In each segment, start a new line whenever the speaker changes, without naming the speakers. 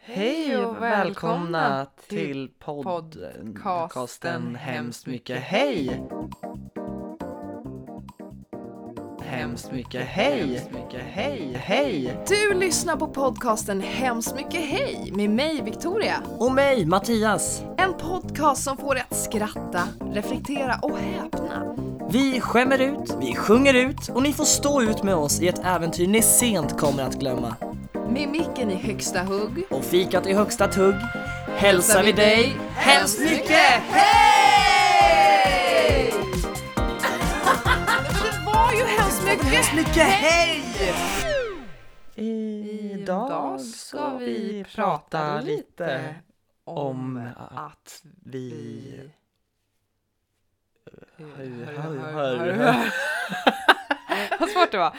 Hej och välkomna till podcasten Hemskt mycket hej! Hemskt mycket hej! mycket hej! Hej!
Du lyssnar på podcasten Hemskt mycket hej med mig Victoria.
Och mig, Mattias.
En podcast som får dig att skratta, reflektera och häpna.
Vi skämmer ut, vi sjunger ut och ni får stå ut med oss i ett äventyr ni sent kommer att glömma.
Med micken i högsta hugg.
Och fikat i högsta tugg hälsar vi dig hemskt mycket!
hej! Det var ju hemskt mycket.
Mycket hej!
Idag ska vi prata lite om att vi... Hur, hur, hur, hur.
Vad svårt det var.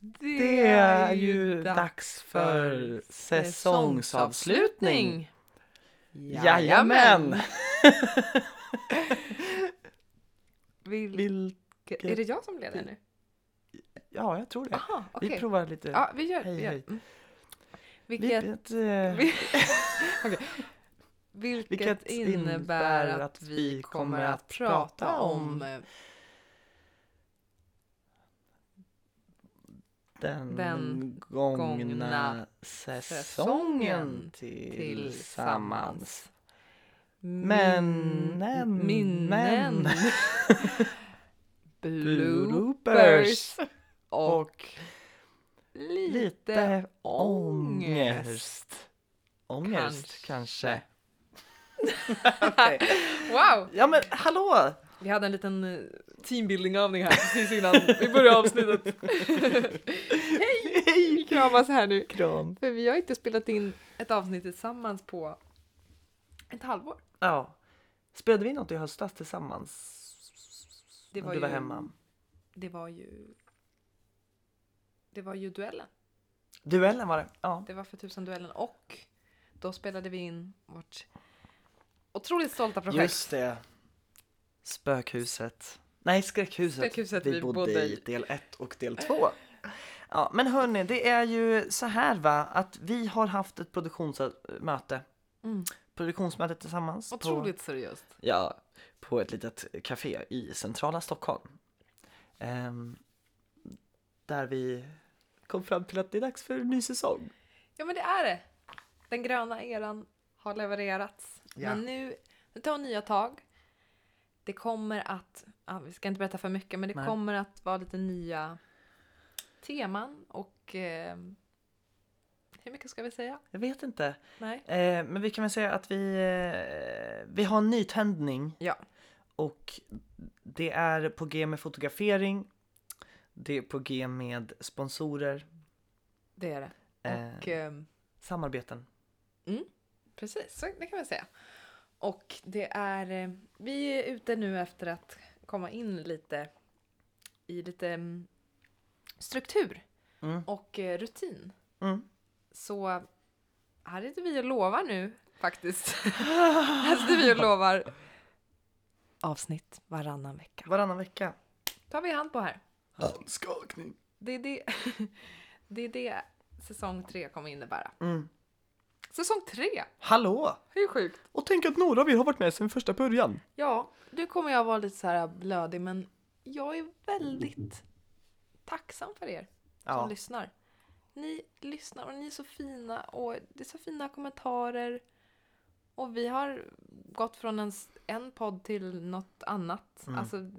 Det är ju dags för säsongsavslutning! Jajamän!
Vil-
Vilket...
Är det jag som leder nu?
Ja, jag tror det.
Aha, okej.
Vi provar lite.
Ja, vi gör,
Hej,
vi gör.
hej.
Vilket,
Vilket, eh,
typ. vi- vilket,
vilket
innebär att vi kommer att prata om eh,
den,
den
gångna,
gångna
säsongen
säsongen
tillsammans.
min-
Männen,
minnen,
män.
bloopers och
Och
lite
lite ångest. Ångest kanske. Okej.
Wow!
Ja men hallå!
Vi hade en liten eh, teambuilding-övning här precis innan vi började avsnittet. Hej! Vi kramas här nu.
Kram.
För vi har inte spelat in ett avsnitt tillsammans på ett halvår.
Ja. Spelade vi något i höstas tillsammans?
Det var
du var
ju-
hemma.
Det var ju... Det var ju duellen.
Duellen var det. Ja.
Det var för tusan duellen och då spelade vi in vårt otroligt stolta projekt.
Just det. Spökhuset. Nej, skräckhuset.
Skräckhuset
vi,
vi
bodde,
bodde
i
i.
del 1 och del 2. Ja, men hörni, det är ju så här va, att vi har haft ett produktionsmöte.
Mm.
Produktionsmöte tillsammans. På,
Otroligt seriöst.
ja, på ett litet café i centrala Stockholm. Ehm, där vi kom fram till att det är dags för en ny säsong.
Ja men det är det. Den gröna eran har levererats.
Ja.
Men nu, nu tar vi nya tag. Det kommer att, ja, vi ska inte berätta för mycket, men det
Nej.
kommer att vara lite nya teman och eh, hur mycket ska vi säga?
Jag vet inte.
Nej.
Eh, men vi kan väl säga att vi, eh, vi har en nytändning.
Ja.
Och det är på G med fotografering. Det är på G med sponsorer,
Det är det.
Eh.
Och eh,
samarbeten.
precis, så det kan man säga. Och det är, eh, vi är ute nu efter att komma in lite i lite mm, struktur
Mm.
och eh, rutin.
Mm.
Så här är det vi och lovar nu faktiskt. här sitter vi och lovar avsnitt varannan vecka.
Varannan vecka.
tar vi hand på här.
Handskakning.
Det är det, det, är det säsong tre kommer innebära.
Mm.
Säsong tre!
Hallå!
Hur sjukt?
Och tänk att några av er har varit med sedan första början.
Ja, nu kommer jag vara lite så här blödig men jag är väldigt tacksam för er som
Ja.
lyssnar. Ni lyssnar och ni är så fina och det är så fina kommentarer. Och vi har gått från en, s- en podd till något annat.
Mm.
Alltså,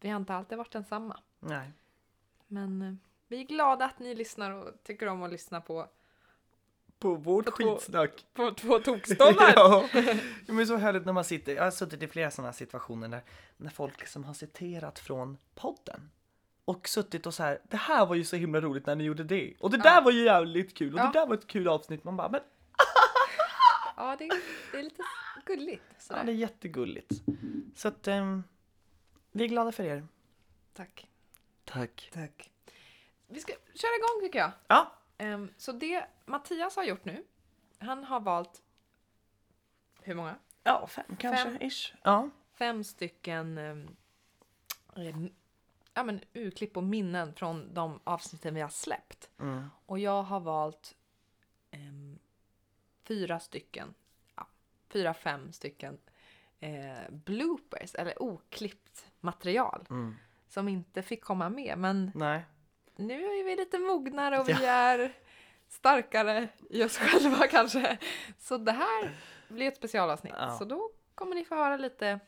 vi har inte alltid varit densamma.
Nej.
Men eh, vi är glada att ni lyssnar och tycker om att lyssna på,
På vårt
På två-
skitsnack.
på två tokstollar.
ja. Men det är så härligt när man sitter, jag har suttit i flera sådana situationer där, när folk som har citerat från podden och suttit och så här, det här var ju så himla roligt när ni gjorde det och det
Ja.
där var ju jävligt kul och
Ja.
det där var ett kul avsnitt. Man bara, men
Ja, det, det är lite gulligt.
ja, det är
Sådär.
jättegulligt. Så att ehm, vi är glada för er.
Tack.
Tack.
Tack. Vi ska köra igång tycker jag.
Ja,
Ehm, så det Mattias har gjort nu, han har valt hur många?
ja fem kanske
Fem.
ish. Ja.
Fem stycken ehm, ehm, ja, men, urklipp och minnen från de avsnitten vi har släppt.
Mm.
Och jag har valt ehm, fyra stycken, ja, fyra, fem stycken eh, bloopers eller oklippt material
Mm.
som inte fick komma med. Men
Nej.
nu är vi lite mognare och vi är starkare i oss själva kanske. Så det här blir ett specialavsnitt.
Ja.
Så då kommer ni få höra lite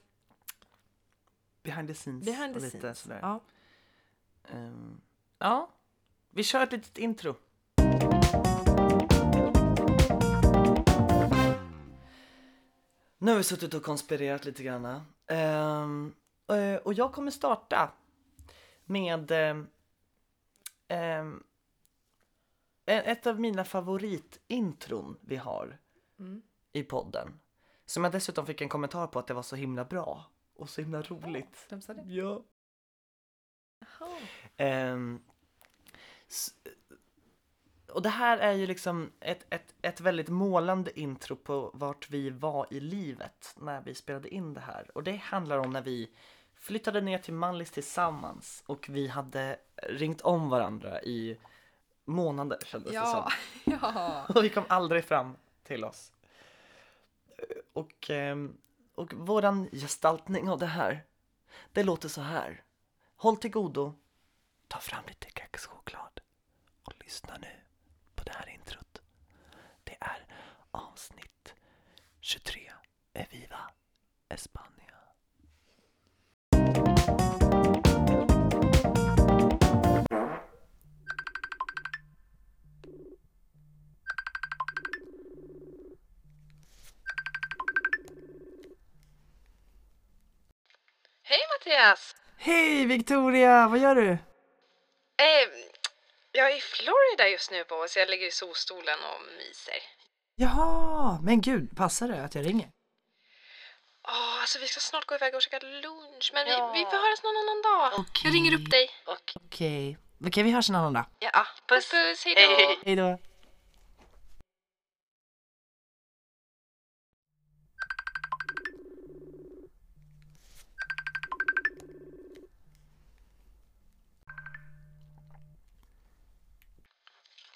Behind the scenes.
behind the
och lite
scenes.
Sådär.
Ja.
Ehm, ja, vi kör ett litet intro. Nu har vi suttit och konspirerat lite grann. Ehm, eh, och jag kommer starta med ehm, ehm, e- ett av mina favoritintron vi har
Mm.
i podden. Som jag dessutom fick en kommentar på att det var så himla bra och så himla roligt.
Vem sa det?
Ja.
Mm. Jaha.
Ehm, s- och det här är ju liksom ett, ett, ett väldigt målande intro på vart vi var i livet när vi spelade in det här. Och det handlar om när vi flyttade ner till Mallis tillsammans och vi hade ringt om varandra i månader kändes det som.
Ja, ja.
Och vi kom aldrig fram till oss. Och, ehm, och våran gestaltning av det här, det låter så här. Håll till godo, ta fram lite kexchoklad och lyssna nu på det här introt. Det är avsnitt 23, Eviva Espania.
Hej Mattias!
Hej Victoria, vad gör du?
Eh, jag är i Florida just nu på så jag ligger i solstolen och myser.
Jaha, men gud, passar det att jag ringer?
Åh, alltså vi ska snart gå iväg och käka lunch, men vi, vi får höras någon annan dag. Jag ringer upp dig.
Okej, okej vi hörs en annan dag.
Ja, puss. Puss, hej då.
Hej då.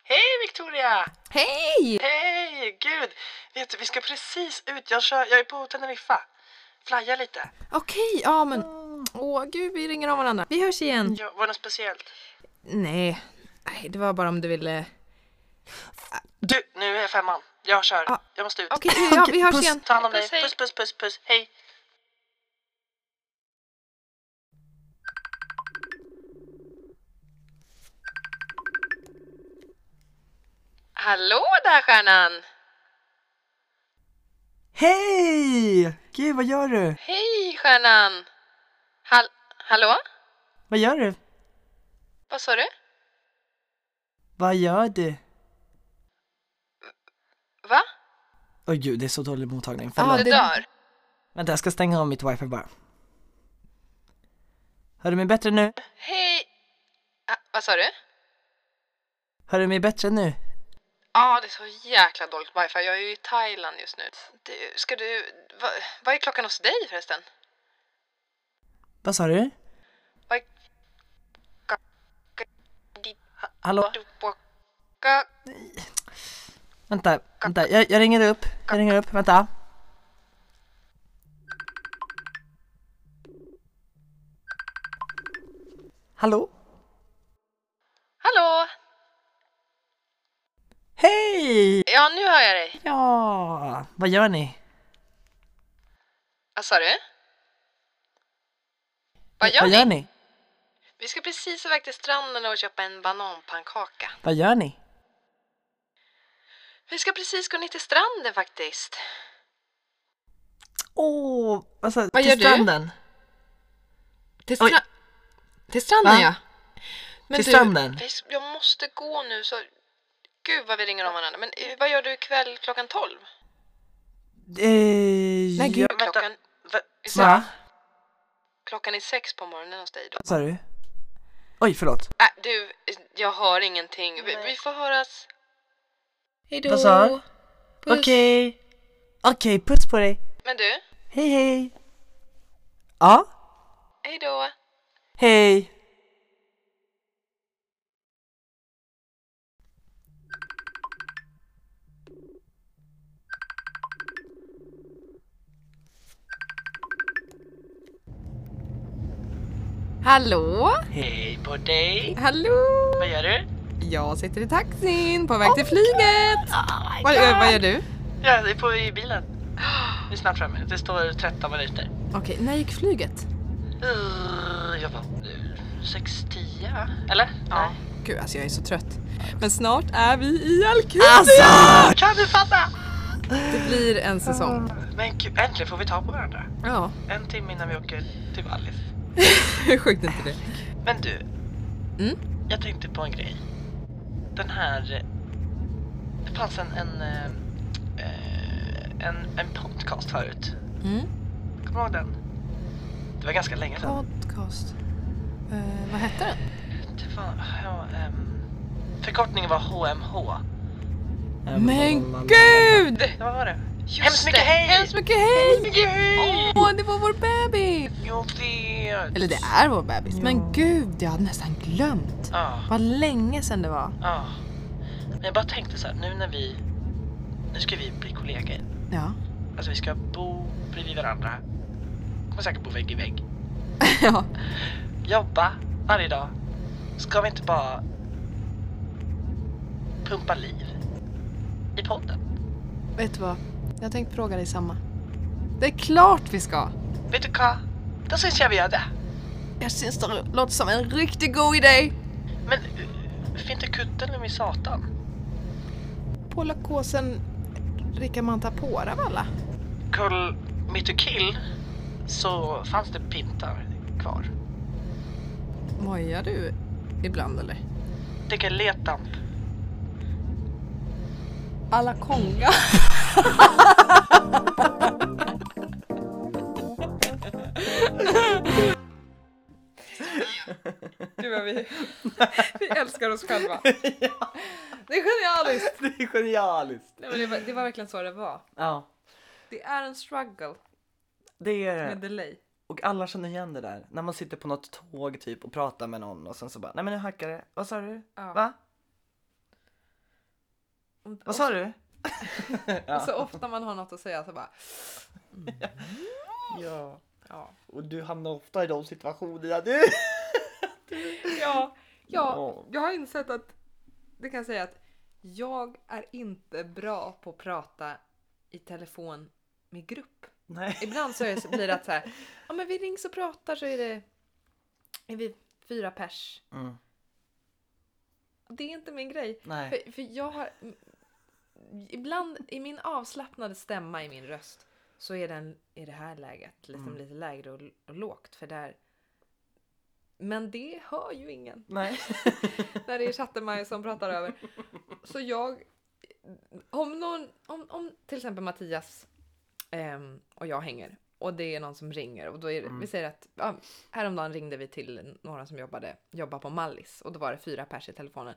Hej Victoria!
Hej!
Hej! Gud! Vet du, vi ska precis ut. Jag, kör, jag är på Teneriffa. Flagga lite.
Okej, ja men. Åh gud, vi ringer om varandra. Vi hörs igen.
Ja, var det något speciellt?
Nej, nej det var bara om du ville.
Du, nu är femman. Jag kör.
Ja.
Jag måste ut.
Okej, ja, vi hörs
puss.
igen.
Ta hand om dig.
Puss, hej.
Puss, puss, puss, puss. Hej.
Hallå där stjärnan!
Hej! Gud, vad gör du?
Hej stjärnan! Hall- hallå?
Vad gör du?
Vad sa du?
Vad gör du?
Va?
Åh gud, det är så dålig mottagning.
Ja,
Förlåt.
du
det...
dör?
Vänta, jag ska stänga av mitt wifi bara. Hör du mig bättre nu?
Hej! Ah, vad sa du?
Hör du mig bättre nu?
Ja, det är så jäkla dåligt wifi. Jag är ju i Thailand just nu. Du, ska du... Va, vad är klockan hos dig förresten?
Vad sa du?
Vad är...
Hallå? Vänta, vänta. Jag, jag ringer upp. Jag ringer upp, vänta. Hallå?
Hallå!
Hej!
Ja, nu hör jag dig.
Ja, vad gör ni?
Vad sa du? Vad gör
vad
ni?
gör ni?
Vi ska precis iväg till stranden och köpa en bananpannkaka.
Vad gör ni?
Vi ska precis gå ner till stranden faktiskt.
Åh, alltså,
Vad
till
gör du?
stranden.
Till,
Oj.
till stranden
Va?
Men
till
du,
stranden.
vi- Jag måste gå nu så... Gud vad vi ringer om varandra. Men eh, vad gör du ikväll klockan 12?
Eh,
Nej, gud.
ja,
vänta.
Klockan,
Va?
Va?
klockan är sex på morgonen hos dig då.
Vad sa du? Oj, förlåt.
Äh, du, jag hör ingenting. Vi, vi får höras. Hejdå.
Vad sa du? Okej. Okej, puss på dig.
Men du,
Hej, hej. Ja,
hejdå.
hej.
Hallå?
Hej på dig!
Hallå?
Vad gör du?
Jag sitter i taxin på väg till flyget.
Oh my
Vad, ö, vad gör du?
Jag är på, i bilen. Det är snart framme. Det står 13 minuter.
Okej, när gick flyget?
Uh, Jag var 6.10 va? Eller? Ja.
Gud, alltså jag är så trött. Men snart är vi i Alcudia!
Kan du fatta?
Det blir en säsong.
Men gud, äntligen får vi ta på varandra.
Ja,
En timme innan vi åker till Wallis.
hur sjukt är inte det?
Men du.
Mm?
Jag tänkte på en grej. Den här... Det fanns en... En, eh, eh, en, en podcast förut.
Mm.
Kommer du ihåg den? Det var ganska länge sedan.
Podcast. Eh, vad hette den?
Det var... Ja, ehm, förkortningen var HMH.
Men gud!
Det, vad var det? Hemskt mycket
det.
hej!
Hemskt mycket hej!
mycket hej!
Åh, det var vår bebis!
Jag vet!
Eller det är vår bebis, men gud, jag hade nästan glömt.
Ja,
Vad länge sedan det var.
ja. Men jag bara tänkte så här, nu när vi... Nu ska vi bli kollegor.
Ja.
Alltså vi ska bo bredvid varandra. Kommer säkert bo vägg i vägg.
ja.
Jobba varje dag. Ska vi inte bara pumpa liv i podden?
Vet du vad? Jag tänkte fråga dig samma. Det är klart vi ska!
Vet du vad? Då syns jag vi gör det.
Jag syns det låter som en riktigt god idé!
Men eh, finns inte kudden med satan?
På lakåsen Rickamantapora valla.
Kull mitt och kill så fanns det pintar kvar.
Mojar du ibland eller?
Det kan leta.
Alla konga. Gud vad vi, vi älskar oss själva. Det är genialiskt!
Det är genialiskt.
Nej, men det, var, det var verkligen så det var.
Ja,
Det är en struggle
det är
med delay.
Och alla känner igen det där. När man sitter på något tåg typ och pratar med någon och sen så bara, nej men nu hackar det. Vad sa du?
Ja.
Va? Vad sa du?
Och så ofta man har något att säga så bara...
Ja.
Ja.
Och du hamnar ofta i de situationerna du.
Ja, ja,
Ja.
jag har insett att det kan jag säga att jag är inte bra på att prata i telefon med grupp.
Nej.
Ibland så, är det, så blir det att så här, ja men vi rings och pratar så är det är vi fyra pers.
Mm.
Det är inte min grej.
Nej.
För, för jag har ibland i min avslappnade stämma i min röst så är den i det här läget liksom
Mm.
lite lägre och, och lågt för där. Men det hör ju ingen.
Nej.
när det är chattermaj som pratar över. Så jag, om någon, om, om till exempel Mattias ehm, och jag hänger och det är någon som ringer och då är det, vi säger att ja, häromdagen ringde vi till några som jobbade, jobbar på Mallis och då var det fyra pers i telefonen.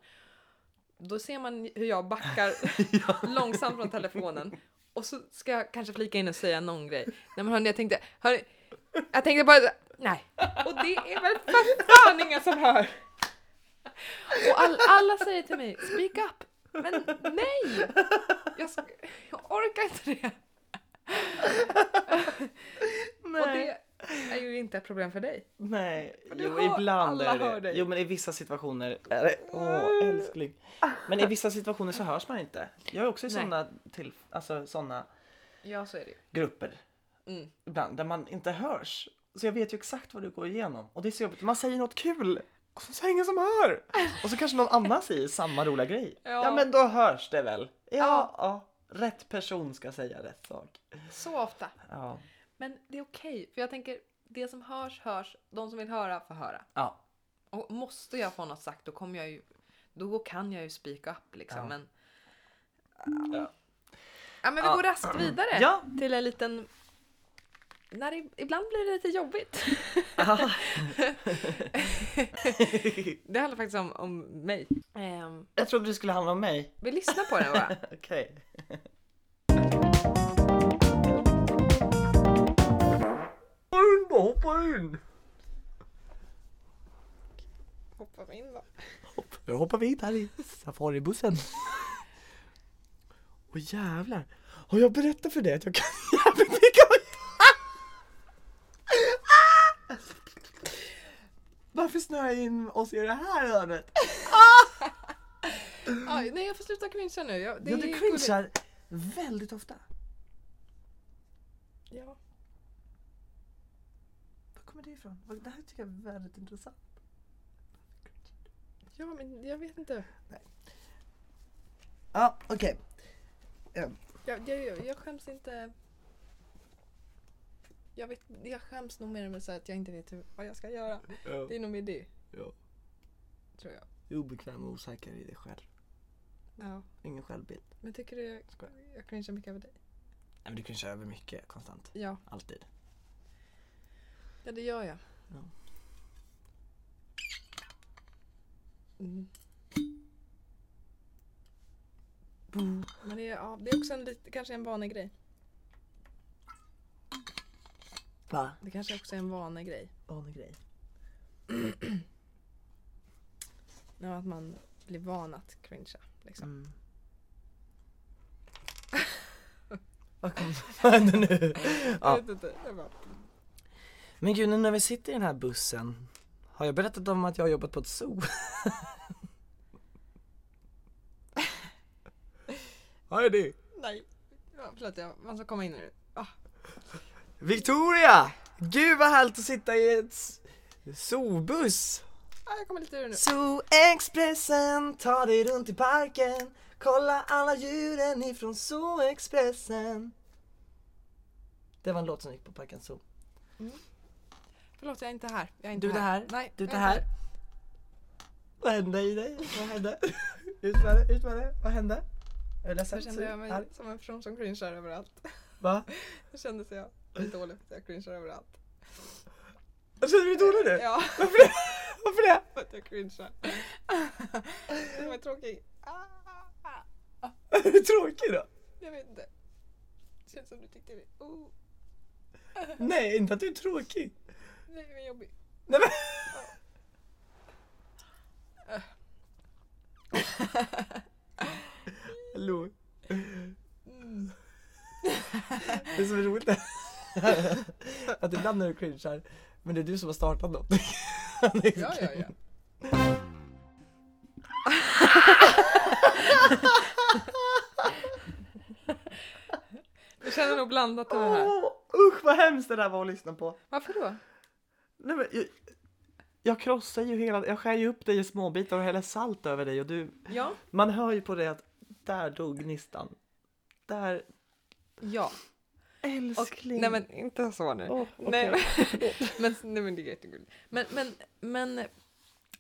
Då ser man hur jag backar långsamt från telefonen och så ska jag kanske flika in och säga någon grej. Nej men hörni, jag tänkte, hörni, jag tänkte bara, nej. Och det är väl för fan ingen som hör. Och all, alla säger till mig, speak up! Men nej! Jag, sk- jag orkar inte det. Och det är ju inte ett problem för dig.
Nej.
du
Jo,
hör-
ibland
alla
är
hör
det
dig.
Jo, men i vissa situationer är det. Åh, älskling. Men i vissa situationer så hörs man inte. Jag är också i
Nej.
sådana till, alltså sådana
Ja, så är det ju.
grupper
Mm.
ibland där man inte hörs. Så jag vet ju exakt vad du går igenom och det är så jobbigt. Man säger något kul och så säger ingen som hör. Och så kanske någon annan säger samma roliga grej.
Ja.
Ja, men då hörs det väl. Ja,
Ja.
ja. rätt person ska säga rätt sak.
Så ofta.
Ja,
Men det är okej, för jag tänker, det som hörs, hörs. De som vill höra, får höra.
ja,
Och måste jag få något sagt, då kommer jag ju... Då kan jag ju speak up liksom,
Ja.
men...
Ja.
Ja, men vi
Ja.
går raskt vidare
Ja.
till en liten... När det, ibland blir det lite jobbigt. Det handlar faktiskt om, om mig. Ehm,
jag trodde det skulle handla om mig.
vi lyssnar på den bara.
Okej. Hoppa in då, hoppa in!
Hoppar vi in då?
Nu hoppar vi in här i safaribussen. Åh jävlar. Har jag berättat för dig att jag kan jävligt mycket om... snöa in oss i det här hörnet.
Oj, nej jag får sluta cringea nu. Jag, det
Ja,
är
du
gulligt.
cringear väldigt ofta.
Ja.
Var kommer det ifrån? Vad- Det här tycker jag är väldigt intressant.
ja, men jag vet inte.
Ja, okej.
Jag, jag, jag, jag skäms inte. Jag, vet, jag skäms nog mer än så att jag inte vet hur, vad jag ska göra. Det är nog mer det,
Ja.
tror jag.
Du är obekväm och osäker i dig själv.
Ja.
Ingen självbild.
Men tycker du jag,
Skoja.
jag cringear mycket över dig?
Nej, men du kan köra över mycket konstant.
Ja,
Alltid.
ja det gör jag.
Ja.
Mm. Men det är, ja, det är också en, lit- kanske en vanegrej.
Va?
Det kanske också är en vanegrej.
Vanegrej.
Ja, att man blir van att cringea. Liksom.
Mm. Vad kom- vad hände nu?
Jag
Ja.
vet inte. Jag bara,
Men gud, nu när vi sitter i den här bussen. Har jag berättat om att jag har jobbat på ett zoo? Vad är det?
nej. Ja, förlåt, jag måste komma in nu. Ah,
Victoria! Gud vad härligt att sitta i ett s- zoobuss!
ah, jag kommer lite ur nu.
Zoo-expressen tar dig runt i parken Kolla alla djuren ifrån zoo-expressen Det var en låt som gick på Parken Zoo
Förlåt, jag är inte här. Jag är inte
Du det här,
Nej,
du
jag
det
är inte
här Vad hände i dig? Vad hände? Ut med det, ut med det, vad hände? Är du ledsen?
Så kände jag mig
Arg?
som en person som cringear överallt.
Va?
Det kändes jag lite dålig för att jag cringear överallt.
Känner du dig dålig nu?
Ja,
Varför det?
för att jag cringear. Det var tråkigt. Ah, ah,
Är du tråkig då?
Jag vet inte. Det känns som du tyckte det var oh,
Nej, inte att du är tråkig
nej, men jobbigt.
Nej men Hallå
Mm.
Det som är roligt är att ibland när du cringear, men det är du som har startat något.
Ja, ja, ja. Jag känner nog blandat av det här.
Åh, usch vad hemskt det där var att lyssna på.
Varför då?
Nej, men, jag, jag krossar ju hela, jag skär ju upp dig i småbitar och häller salt över dig och du,
Ja.
man hör ju på dig att där dog gnistan. Där,
Ja.
älskling.
nej men inte så nu.
Åh, okej.
Nej, men, nej men det är jättegulligt. Men, men, men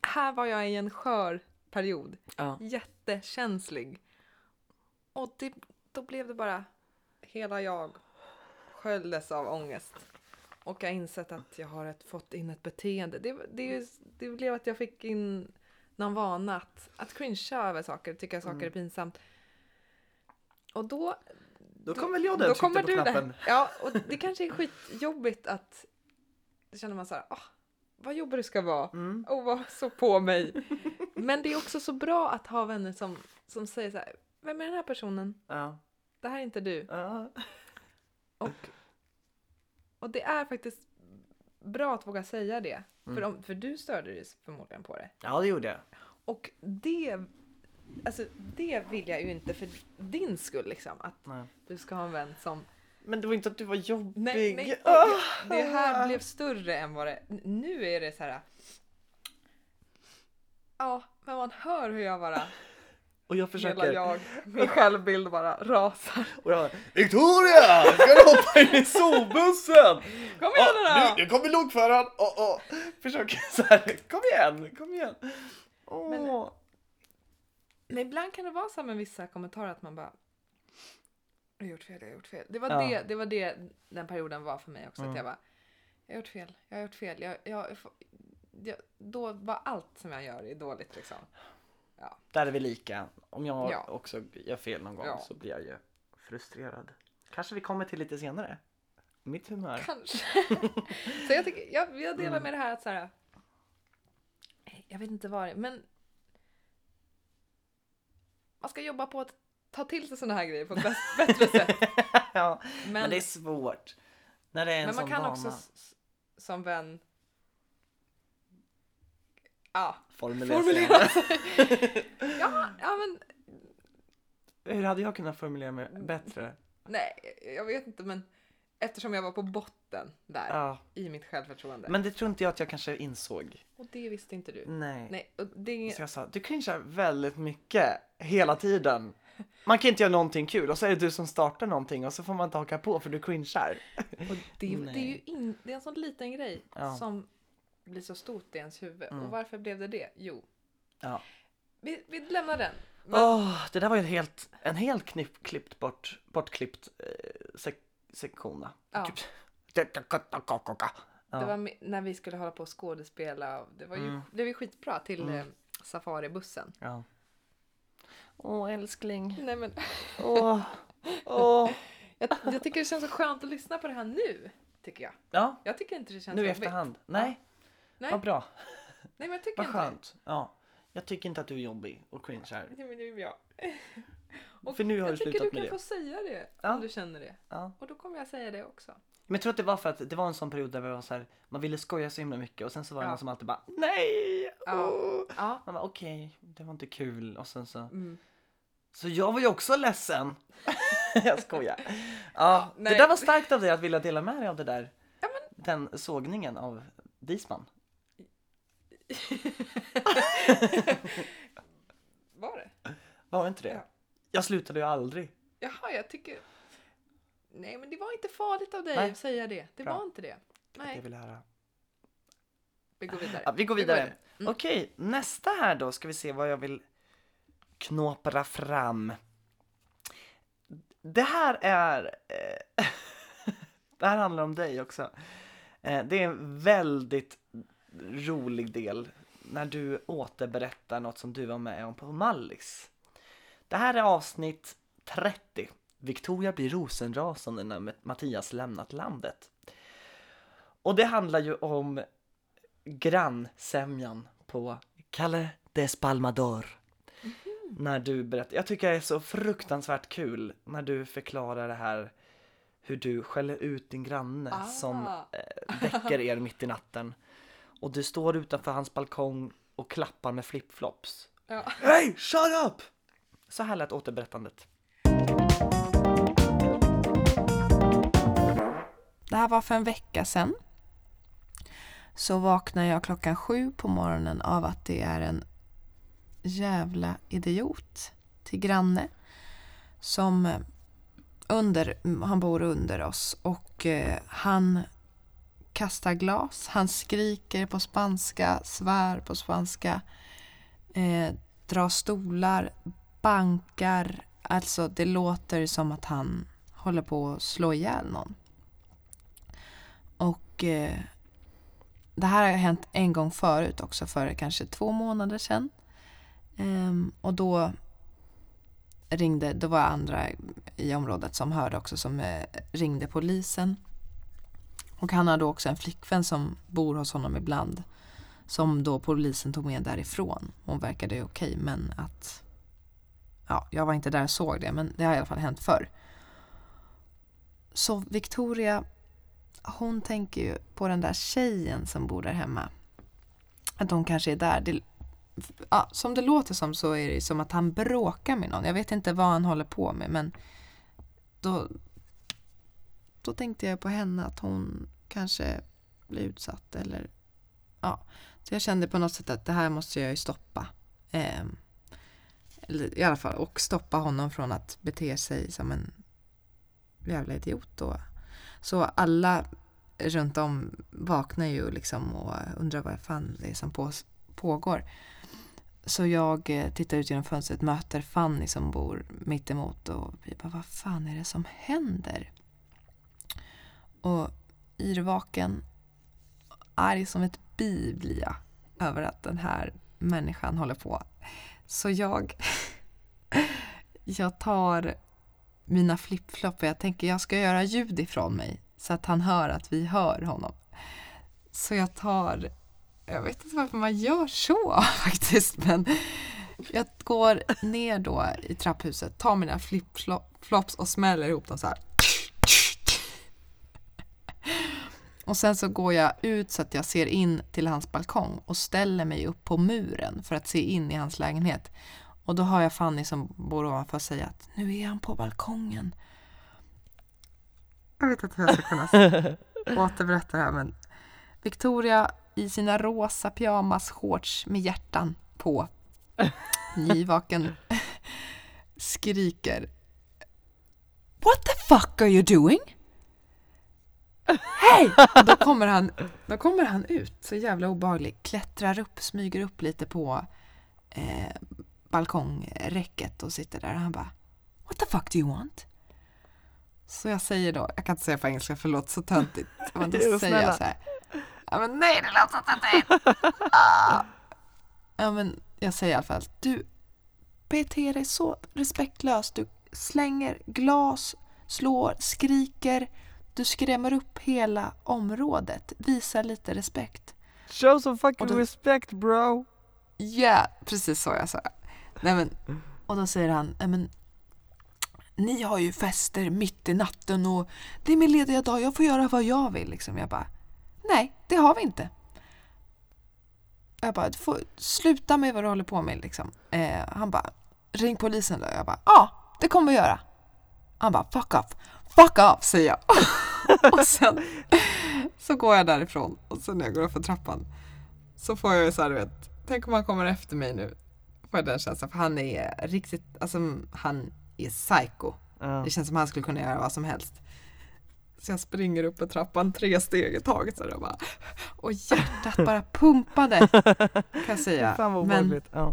här var jag i en skör period.
Ja.
Jättekänslig. Och det, då blev det bara hela jag sköljdes av ångest. Och jag har insett att jag har ett, fått in ett beteende. Det, det, är ju- det blev att jag fick in någon vana att, att cringea över saker, tycka saker
Mm.
är pinsamt. Och då
Då kom väl jag där och tryckte på knappen.
där. Ja, och det kanske är skitjobbigt att då känner man så här, "Ah, vad jobbig du ska vara
Mm.
och vad så på mig. Men det är också så bra att ha vänner som, som säger så här, vem är den här personen?
Ja.
Det här är inte du.
Ja.
Och, och det är faktiskt bra att våga säga det. För, om, för du störde dig förmodligen på det.
ja, det gjorde jag.
Och det, alltså, det vill jag ju inte för din skull liksom. Att
Nej.
du ska ha en vän som
Men det var inte att du var jobbig.
Nej, nej.
Ah!
Det här blev större än vad det... Nu är det så här... Ja, men man hör hur jag bara...
Och jag
Hela
försöker.
jag, min självbild bara rasar.
Och jag bara, Victoria! Ska du hoppa in i solbussen?
Kom igen nu
Ah,
då!
nu, nu kommer lokföraren! Oh, oh. Försöker så här, kom igen, kom igen. Åh.
Men- Men ibland kan det vara så här med vissa kommentarer att man bara... Jag har gjort fel, jag har gjort fel. Det var,
Ja.
det, det, var det den perioden var för mig också.
Mm.
Att jag bara... Jag har gjort fel, jag har gjort fel. Jag, jag, jag, då var allt som jag gör är dåligt liksom.
Där är vi lika. Om jag
Ja.
också gör fel någon gång
Ja.
så blir jag ju frustrerad. Kanske vi kommer till lite senare. Mitt humör.
Kanske. så jag, tycker, jag, jag
Mm.
delar med det här att så här. Jag vet inte vad det är, men man ska jobba på att ta till sig sådana här grejer på ett bäst- bättre sätt.
ja,
Men,
men det är svårt. När det är en
men man
sån
kan
vana.
också s- som vän Ja,
Formulera,
formulera
formulera.
sig. ja,
Mm.
ja, men
Hur hade jag kunnat formulera mig bättre?
nej, jag vet inte, men eftersom jag var på botten där
Ja,
i mitt självförtroende.
men det tror inte jag att jag kanske insåg.
Och det visste inte du.
Nej.
Nej, och det är
Så jag sa, du cringear väldigt mycket hela tiden. Man kan inte göra någonting kul och så är det du som startar någonting och så får man inte haka på för du cringear.
Och det, är- det är ju
Nej.
in, det är en sån liten grej
Ja.
som blir så stort i ens huvud.
Mm.
Och varför blev det det? Jo,
Ja.
vi, vi lämnar den. Men,
Åh, det där var ju en helt, en helt knipp, klippt bort, bortklippt eh, sek, sektion.
Ja.
Typ. Ja.
Det var mi- när vi skulle hålla på och skådespela. och Det var ju,
Mm.
det var ju skitbra till
Mm.
eh, safaribussen.
Ja. Åh älskling.
Nej, men,
Åh. Åh.
jag, jag tycker det känns så skönt att lyssna på det här nu. Tycker jag.
Ja,
Jag tycker inte det känns
nu i
jobbigt.
efterhand. Nej, vad
Nej, nej
bra.
men jag tycker
Vad
inte
skönt. Ja. Jag tycker inte att du är jobbig och cringear.
det. Nej, men det är bra. Och
För nu har
jag
du
tycker du
slutat
kan
med det.
få säga det
Ja.
om du känner det.
Ja.
Och då kommer jag säga det också.
Men jag tror att det var för att det var en sån period där vi var så här, man ville skoja så himla mycket och sen så var det
Ja.
någon som alltid bara nej.
Ja.
åh."
Ja.
Man bara okej, det var inte kul och sen så.
Mm.
Så jag var ju också ledsen. jag skojar. Ja,
nej.
det där var starkt av dig att vilja dela med dig av det där. Den sågningen av Disman.
Var det?
Var inte det?
Ja.
Jag slutade ju aldrig.
Jaha, jag tycker... Nej, men det var inte farligt av dig
Nej.
att säga det. Det
Bra.
var inte det.
Nej. Jag
Nej,
vill höra.
vi går vidare.
Ja, vi går vidare.
Mm.
Okej, nästa här då ska vi se vad jag vill knåpra fram. Det här är... Eh, det här handlar om dig också. Eh, det är en väldigt rolig del när du återberättar något som du var med om på Mallis. Det här är avsnitt 30. Victoria blir rosenrasande när Mattias lämnat landet. Och det handlar ju om grannsämjan på Calle Despalmador.
Mhm.
När du berättar. Jag tycker det är så fruktansvärt kul när du förklarar det här hur du skäller ut din granne
Ah.
som eh, väcker er mitt i natten. Och du står utanför hans balkong och klappar med flipflops.
Ja.
Hey, shut up! Så här lät återberättandet.
Det här var för en vecka sedan. Så vaknar jag klockan sju på morgonen av att det är en jävla idiot till granne som eh, under, mm, han bor under oss och eh, han kastar glas, han skriker på spanska, svär på spanska, eh, drar stolar, bankar. Alltså det låter som att han håller på att slå ihjäl någon. Och eh, det här har hänt en gång förut också, för kanske två månader sedan. Ehm, och då ringde, då var andra i området som hörde också som eh, ringde polisen. Och han hade också en flickvän som bor hos honom ibland. Som då polisen tog med därifrån. Hon verkade ju okej men att... Ja, jag var inte där och såg det men det har i alla fall hänt förr. Så Victoria hon tänker ju på den där tjejen som bor där hemma. Att hon kanske är där. Det, ja, som det låter som så är det ju som att han bråkar med någon. Jag vet inte vad han håller på med men då, då tänkte jag på henne att hon kanske blir utsatt eller ja. Så jag kände på något sätt att det här måste jag ju stoppa. Ehm, eller i alla fall och stoppa honom från att bete sig som en jävla idiot då. Så alla runt om vaknar ju liksom och undrar vad fan det är som på, pågår. Så jag eh, tittar ut genom fönstret, möter Fanny som bor mitt emot och vi bara vad fan är det som händer? Och yrvaken, arg som ett bi blir jag över att den här människan håller på. Så jag, jag tar mina flipflop och jag tänker jag ska göra ljud ifrån mig så att han hör att vi hör honom. Så jag tar, jag vet inte varför man gör så faktiskt, men jag går ner då i trapphuset, tar mina flipflops och smäller ihop dem så här. Och sen så går jag ut så att jag ser in till hans balkong och ställer mig upp på muren för att se in i hans lägenhet. Och då hör jag Fanny som bor ovanför säga att nu är han på balkongen. Jag vet inte hur jag ska kunna återberätta det här men Victoria i sina rosa pyjamas, shorts med hjärtan på, nyvaken, skriker What the fuck are you doing? Hej! Och Då kommer han, då kommer han ut, så jävla obehaglig, klättrar upp, smyger upp lite på eh, balkongräcket och sitter där och han bara What the fuck do you want? Så jag säger då, jag kan inte säga på engelska, förlåt, så töntigt. Men då
Jo,
säger
snälla.
jag så här. Ja men nej, det låter så töntigt! Ah. Ja men jag säger i alla fall, du beter dig så respektlöst. Du slänger glas, slår, skriker. Du skrämmer upp hela området. Visa lite respekt.
Show some fucking
Och då-
respect bro!
Ja, precis så jag sa. Nej, men, och då säger han, "Nej, men, ni har ju fester mitt i natten och det är min lediga dag, jag får göra vad jag vill. Liksom. Jag bara, nej, det har vi inte. Jag bara, du får sluta med vad du håller på med. Liksom. Eh, han bara, ring polisen då. Jag bara, ja, det kommer vi göra. Han bara, fuck off, fuck off säger jag. och sen så går jag därifrån och sen när jag går upp för trappan så får jag ju så här, du vet, tänk om han kommer efter mig nu. Får jag den känslan, för han är riktigt, alltså han är psycho.
Ja.
Det känns som han skulle kunna göra vad som helst. Så jag springer upp för trappan tre steg i taget så jag bara, och hjärtat bara pumpade kan jag säga.
Fan vad
Men-
obehagligt. Ja.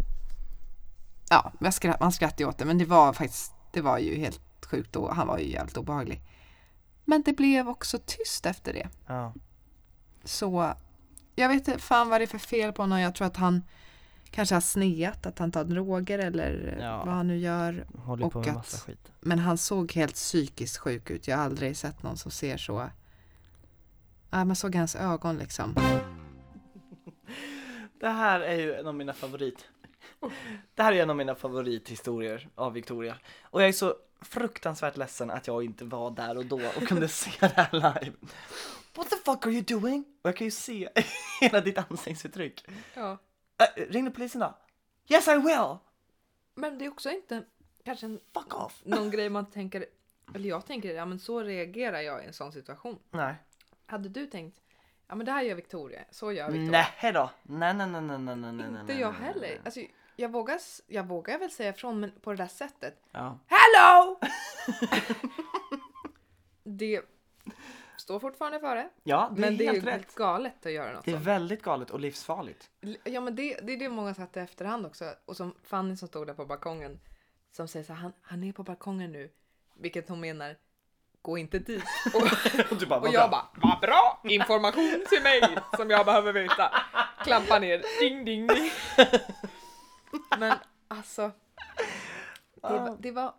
ja, jag skratt, man skrattade ju åt det, men det var faktiskt, det var ju helt sjukt och han var ju jävligt obehaglig. Men det blev också tyst efter det.
Ja.
Så jag vet inte fan vad det är för fel på honom. Jag tror att han kanske har sneat, att han tar droger eller
Ja.
vad han nu gör.
Håller
Och
på med
att-
massa skit.
Men han såg helt psykiskt sjuk ut. Jag har aldrig sett någon som ser så. Ja, man såg hans ögon liksom.
Det här är ju en av mina favorit. Det här är en av mina favorithistorier av Victoria. Och jag är så fruktansvärt ledsen att jag inte var där och då och kunde se det här live. What the fuck are you doing? Och jag kan ju se hela ditt ansiktsuttryck.
Ja.
Äh, ringde polisen då? Yes I will!
Men det är också inte kanske en,
Fuck off!
någon grej man tänker, eller jag tänker, ja men så reagerar jag i en sån situation.
Nej.
Hade du tänkt, ja men det här gör Victoria, så gör Victoria.
Nej då. Nej nej nej nej nej nej nej.
Inte
nej,
jag
nej, nej, nej.
heller. Alltså, jag, vågar, s- jag vågar väl säga ifrån, men på det där sättet.
Ja.
Hello! det står fortfarande för det.
ja, det är
Men det är ju
helt rätt.
galet att göra något
Det är
sånt.
väldigt galet och livsfarligt.
Ja, men det, det är det många satt i efterhand också. Och som Fanny som stod där på balkongen. Som säger så här, han, han är på balkongen nu. Vilket hon menar, gå inte dit. Och,
Och du bara,
och jag bara, vad bra information till mig som jag behöver veta. Klampa ner, ding ding ding. Men alltså, det, var- det var...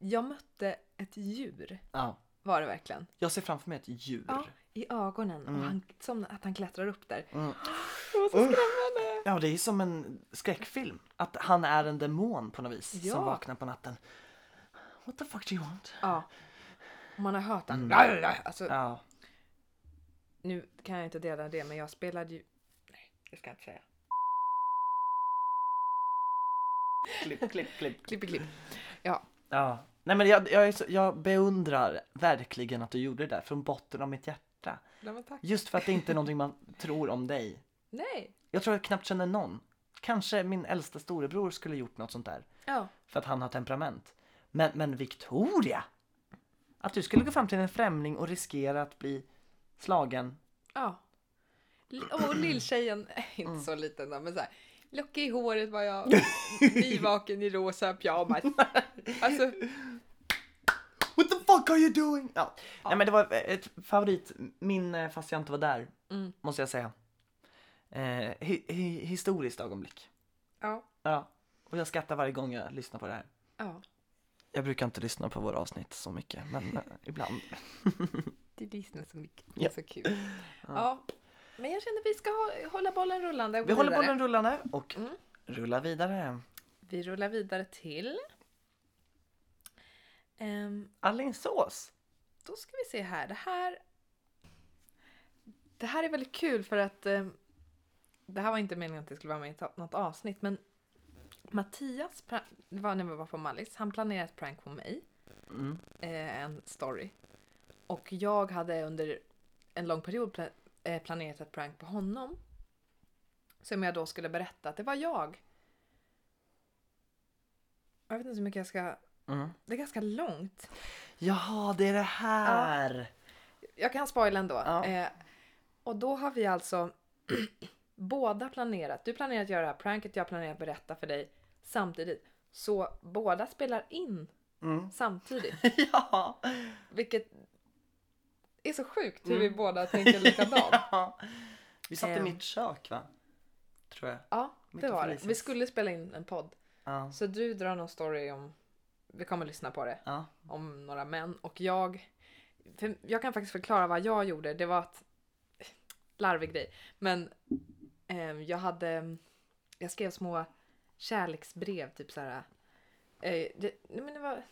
Jag mötte ett djur,
Ja.
var det verkligen.
Jag ser framför mig ett djur.
Ja, Mm. i ögonen. Och han, som att han klättrar upp där.
Mm.
Det var så skrämmande.
Ja, det är som en skräckfilm. Att han är en demon på något vis
Ja.
som vaknar på natten. What the fuck do you want?
Ja. Och Man har hört han.
Mm.
Alltså,
Ja,
Nu kan jag inte dela det, men jag spelade ju... Nej, det ska jag inte säga.
klipp, klipp, klipp.
Klipp i klipp.
Ja. Nej men jag, jag, är så, jag beundrar verkligen att du gjorde det där från botten av mitt hjärta.
Nej, men tack.
Just för att det inte är någonting man tror om dig.
Nej.
Jag tror jag knappt känner någon. Kanske min äldsta storebror skulle gjort något sånt där.
Ja.
För att han har temperament. Men, men Victoria! Att du skulle gå fram till en främling och riskera att bli slagen
Ja. L- Och lilltjejen, eh, inte så liten då, men så här. Lockig i håret var jag, nyvaken i rosa pyjamas. Alltså,
What the fuck are you doing? Ja. Nej men det var ett favoritminne fast jag inte var där.
Mm.
Måste jag säga. Eh, hi- hi- historiskt ögonblick.
ja.
Ja. Och jag skrattar varje gång jag lyssnar på det här.
ja.
Jag brukar inte lyssna på våra avsnitt så mycket men eh, ibland.
Det lyssnar så mycket, det är
Ja.
så kul. Ja. Men jag känner att vi ska ha, hålla bollen rullande och
Vi
gå
håller
vidare.
bollen rullande och
Mm.
rullar vidare.
Vi rullar vidare till... Ehm,
Alingsås.
då ska vi se här. Det här
Det här är väldigt kul för att eh, det här var inte meningen att det skulle vara med i ta- något avsnitt men Mattias, pra- det var när vi var på Mallis, han planerade ett prank på mig.
Mm.
eh, en story. Och jag hade under en lång period pla- eh, planerat ett prank på honom. Som jag då skulle berätta att det var jag. Jag vet inte så mycket jag ska...
Mm.
Det är ganska långt.
Jaha, det är det här!
Jag kan spoila ändå.
Ja.
Eh, och då har vi alltså båda planerat. Du planerar att göra det här pranket, jag planerar att berätta för dig samtidigt. Så båda spelar in
Mm.
samtidigt.
Ja!
Vilket är så sjukt hur vi båda tänker likadant.
ja. Vi satt i
Ehm.
mitt kök va? Tror jag.
Ja,
Mitt
det
och
var det.
Felicias.
Vi skulle spela in en podd.
Ja.
Så du drar någon story om, vi kommer lyssna på det,
ja.
om några män. Och jag, för jag kan faktiskt förklara vad jag gjorde. Det var att, larvig grej, men ehm, jag hade, jag skrev små kärleksbrev, typ så här. Eh, det, nej men det var,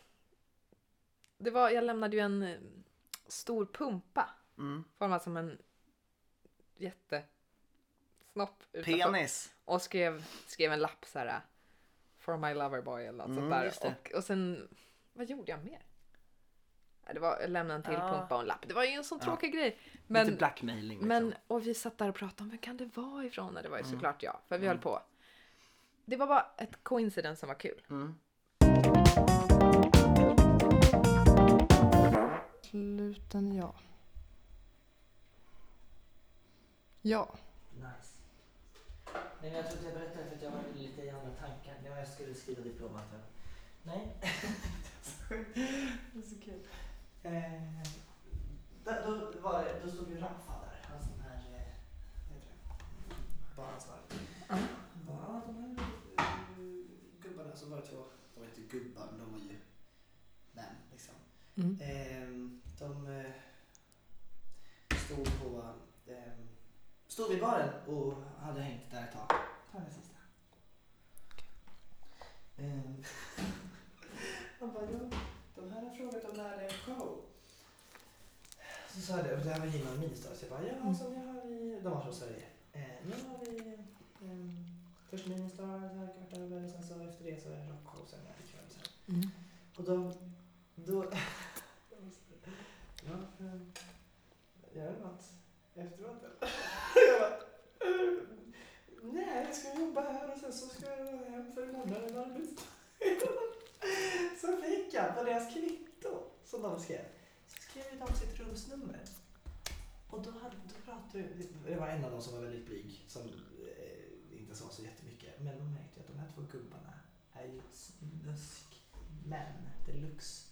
det var, jag lämnade ju en eh, stor pumpa
Mm.
formad som en jättesnopp
Alltså,
utanför.
Penis!
Och skrev, skrev en lapp så här. äh, For my lover boy eller något
Mm, just
sånt
det.
där. Och, och sen, vad gjorde jag mer? Ja, Det var, jag lämnade en till
Ja.
pumpa och en lapp. Det var ju en sån
Ja.
tråkig grej.
Men,
Men,
Lite blackmailing liksom.
men, och vi satt där och pratade om vem kan det vara ifrån? Och det var ju såklart jag, för vi höll på. Det var bara ett coincidence som var kul.
Mm.
Sluten ja. Ja.
Nice. Nej, men jag tror att jag berättade för att jag var lite i andra tankar. Det var jag skulle skriva diplomaten. Nej. det är så kul. Eh, där, då, var det, då stod ju Rafa där. Han som här... Eh, vad heter det? Barnansvarig. Uh-huh. Bara, ja, de här eh, gubbarna som var det två. De var inte gubbar, men de var ju män liksom.
Mm.
Ehm, de eh, stod på... ehm, stod vid baren och hade hängt där ett tag. Ta den sista. Ehm, Han bara, ja, de här har frågat om det här är en show. Så sa jag det, och det här var Gina och Mis då, så jag bara, ja, så nu har vi, de var från Sverige. Eh, nu har vi ehm, först Ministar, så här kvart över, sen så efter det så är det rockshow sen ikväll. Så här.
Mm.
Och då, då, ja, ehm, gör du något efteråt eller? Jag bara, ehm, nej, jag ska jobba här och sen så ska jag hem för imorgon är det arbetsdag. Så fick jag på deras kvitto som de skrev. Så skrev de sitt rumsnummer. Och då, hade, då pratade vi, det var en av dem som var väldigt blyg som eh, inte sa så jättemycket. Men de märkte ju att de här två gubbarna är ju snuskmän deluxe.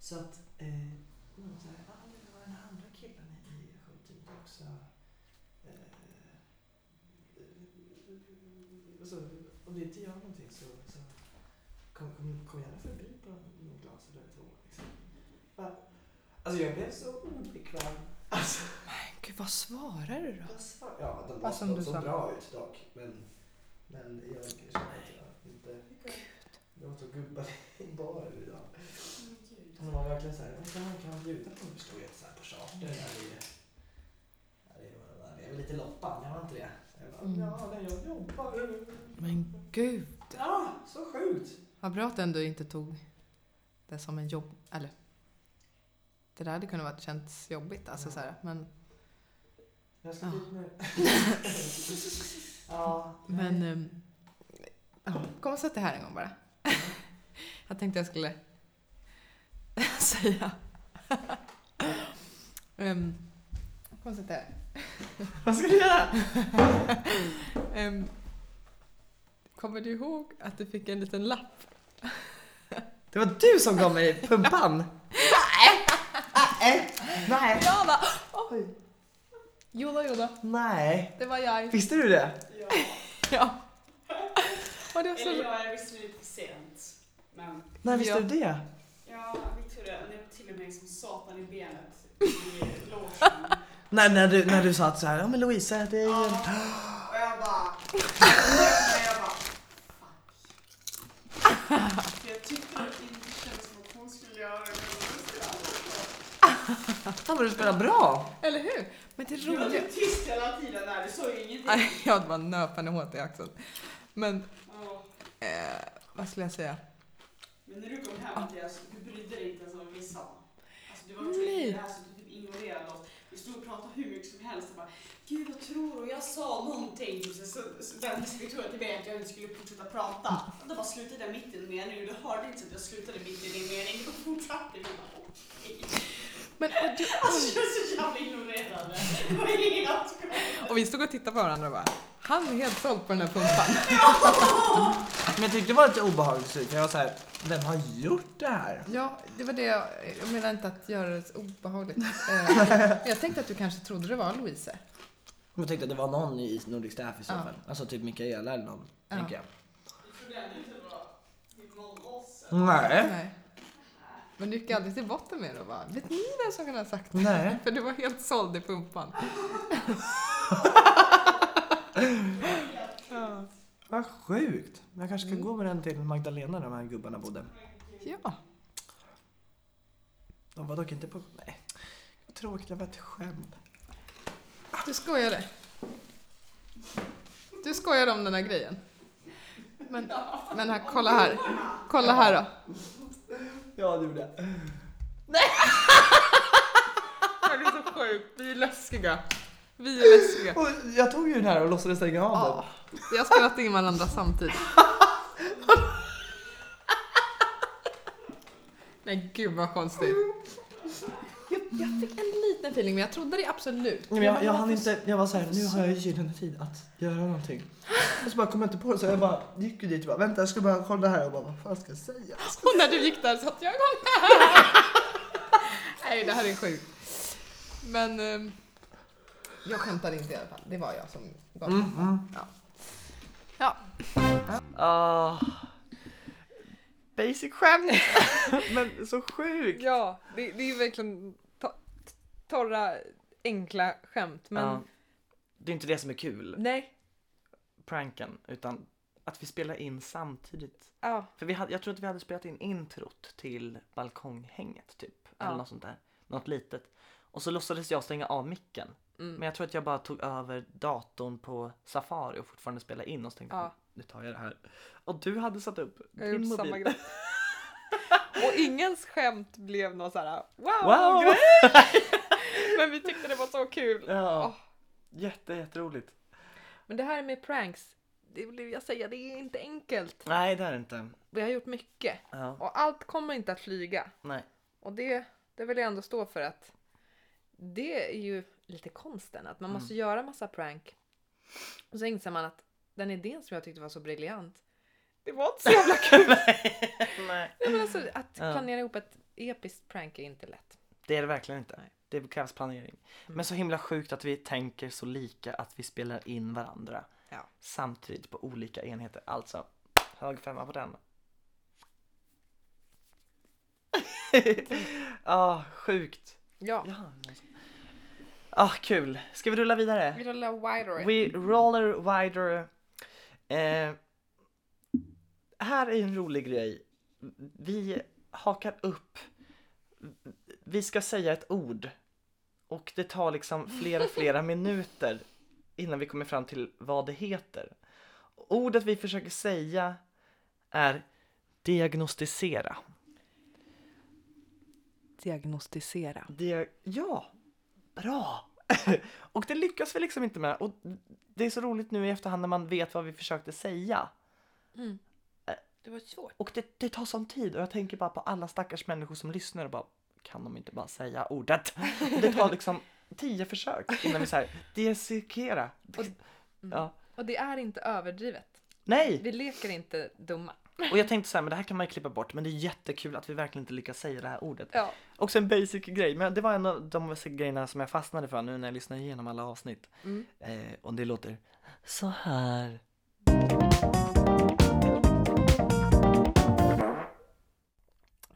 Så att eh, de var så här, ah, det var den andra killen i skjutningen också. Eh, eh, så, om det inte gör någonting så, så kom, kom, kom gärna förbi på något glas eller två. Liksom. Va? Alltså jag blev så obekväm. Alltså,
Gud vad svarar du då?
vad sa- ja, de, var,
Vad som
de
du
såg
sa.
bra ut dock. Men, men jag kände att jag inte... Det var så gubbar i bar idag. De var verkligen så här, vad kan man kan man bjuda på? Det står ju så här på charter. Ja, det är- ja, det är- ja, det är väl lite loppan, jag var inte det? Så Jag bara,
Mm.
ja, nej, jag jobbar.
Men gud.
Ja, så sjukt.
Vad bra att du ändå inte tog det som en jobb... Eller... Det där hade kunnat vara känts jobbigt alltså
Ja.
så här, men...
Jag ska
Ja.
dit nu. ja,
Men... ehm, ja, kom och sätt dig här en gång bara. jag tänkte jag skulle säga... Ehm, kom och sätt dig här.
vad ska du göra?
Ehm, kommer du ihåg att du fick en liten lapp?
Det var du som gav mig pumpan. Nej, nej,
Jag bara... Oh. Joda, joda,
nej.
det var jag.
Visste du det?
Ja. Och det var så...
Eller ja, Alltså, jag visste det lite sent. Men
När visste
Ja.
du det?
ja, Victoria, det var till och med som satan i benet i logen.
Nej, när du, när du sa att så här, ja men Louisa, det är ju en...
Och jag bara... jag bara... Fuck. Jag tyckte att det inte kändes som att hon skulle göra det. men hon skulle aldrig göra
Han borde spela bra.
Eller hur? Men det
Du var
roliga...
typ tyst hela tiden där, du sa ju ingenting.
Nej, jag hade bara nöp henne hårt i axeln. Men
Ja.
eh, vad skulle jag säga?
Men när du kom hem Mattias, du brydde dig inte ens om vad vi sa. Alltså du var
Nej.
inte där så du typ ignorerade oss. Vi stod och pratade hur mycket som helst och bara Gud vad tror du? Jag sa någonting. Så, så, så vände sig Victoria till mig att jag inte skulle fortsätta prata. Och då bara slutade jag mitt i din mening. Du hörde inte så att jag slutade mitt i din mening. Då fortsatte vi bara okej.
Men, och, du,
Alltså jag är så jävla ignorerande. Det var helt
Och vi stod och tittade på varandra och bara, han är helt såld på den här pumpan.
Men jag tyckte det var lite obehagligt i slutet. Jag var såhär, vem har gjort det här?
ja, det var det jag... Jag menar inte att göra det så obehagligt. Eh, men jag tänkte att du kanske trodde det var Louise.
Jag tänkte att det var någon i Nordic Staff i så
Ja.
fall. Alltså typ Mikaela eller någon,
Ja.
tänker jag.
Jag trodde ändå inte det var någon av oss.
Nej.
Nej. Men du gick aldrig till botten med det och bara, vet ni vem som kan ha sagt det?
Nej.
För du var helt såld i pumpan.
Vad sjukt. Jag kanske ska
Mm.
gå med den till Magdalena där de här gubbarna bodde.
Ja.
De var dock inte på... Nej. Vad tråkigt, det var ett skämt.
Du skojade. Du skojade om den här grejen. Men, men här, kolla här. Kolla här då.
Ja, det gjorde jag.
Det är så sjukt. Vi är läskiga. Vi är läskiga.
Och jag tog ju den här och låtsades stänga av
Ah.
Ja,
den.
vi har spelat in varandra samtidigt.
Nej gud vad konstigt.
Jag, jag fick en liten feeling, men jag trodde det absolut.
Men jag, jag hann inte... Jag var så här, nu har jag gyllene tid att göra någonting. Och så bara kom jag inte på det så jag bara gick ju dit och bara vänta jag ska bara kolla här och bara vad fan ska jag säga?
Och när du gick där satte jag igång. Nej, det här är sjukt. Men eh, jag skämtade inte i alla fall. Det var jag som gav
Mm, mm.
Ah. Basic skämt. Men så sjukt.
Ja, det, det är verkligen to- torra, enkla skämt. Men
Ja. Det är inte det som är kul,
nej,
pranken, utan att vi spelar in samtidigt.
ja,
För vi hade, jag tror att vi hade spelat in introt till balkonghänget typ.
Ja.
Eller något sånt där. Något litet. Och så låtsades jag stänga av micken.
Mm.
Men jag tror att jag bara tog över datorn på Safari och fortfarande spela in och så tänkte jag,
Ja.
nu tar jag det här. Och du hade satt upp
jag har gjort
din mobil.
samma grej. Och ingens skämt blev någon så här
Wow!
wow-grej. Men vi tyckte det var så kul.
Ja.
Åh.
Jätte, jätteroligt.
Men det här med pranks, det vill jag säga, det är inte enkelt.
Nej, det är det inte.
Vi har gjort mycket
Ja,
och allt kommer inte att flyga.
nej.
Och det, det vill jag ändå stå för att det är ju lite konsten att man måste göra massa prank. Och så inser man att den idén som jag tyckte var så briljant, det var inte så jävla kul.
nej.
Nej, men alltså, att
Ja.
planera ihop ett episkt prank är inte lätt.
Det är det verkligen inte. Det krävs planering.
Mm.
Men så himla sjukt att vi tänker så lika att vi spelar in varandra
Ja.
samtidigt på olika enheter. Alltså, hög femma på den. ah, sjukt.
Ja,
Ja. Ah, kul. Ska vi rulla vidare?
vi rullar wider.
We roller wider. Eh, här är en rolig grej. Vi hakar upp. Vi ska säga ett ord. Och det tar liksom flera, flera minuter innan vi kommer fram till vad det heter. Ordet vi försöker säga är diagnostisera.
Diagnostisera.
Det, ja, bra! och det lyckas vi liksom inte med. Och det är så roligt nu i efterhand när man vet vad vi försökte säga.
Mm. Det var svårt.
Och det, det tar sån tid och jag tänker bara på alla stackars människor som lyssnar och bara kan de inte bara säga ordet? Och det tar liksom tio försök innan vi säger dissekera.
mm.
Ja.
Och det är inte överdrivet.
Nej!
Vi leker inte dumma.
Och jag tänkte så här, men det här kan man ju klippa bort, men det är jättekul att vi verkligen inte lyckas säga det här ordet.
Ja.
Också en basic grej, men det var en av de grejerna som jag fastnade för nu när jag lyssnar igenom alla avsnitt.
Mm.
Eh, och det låter så här.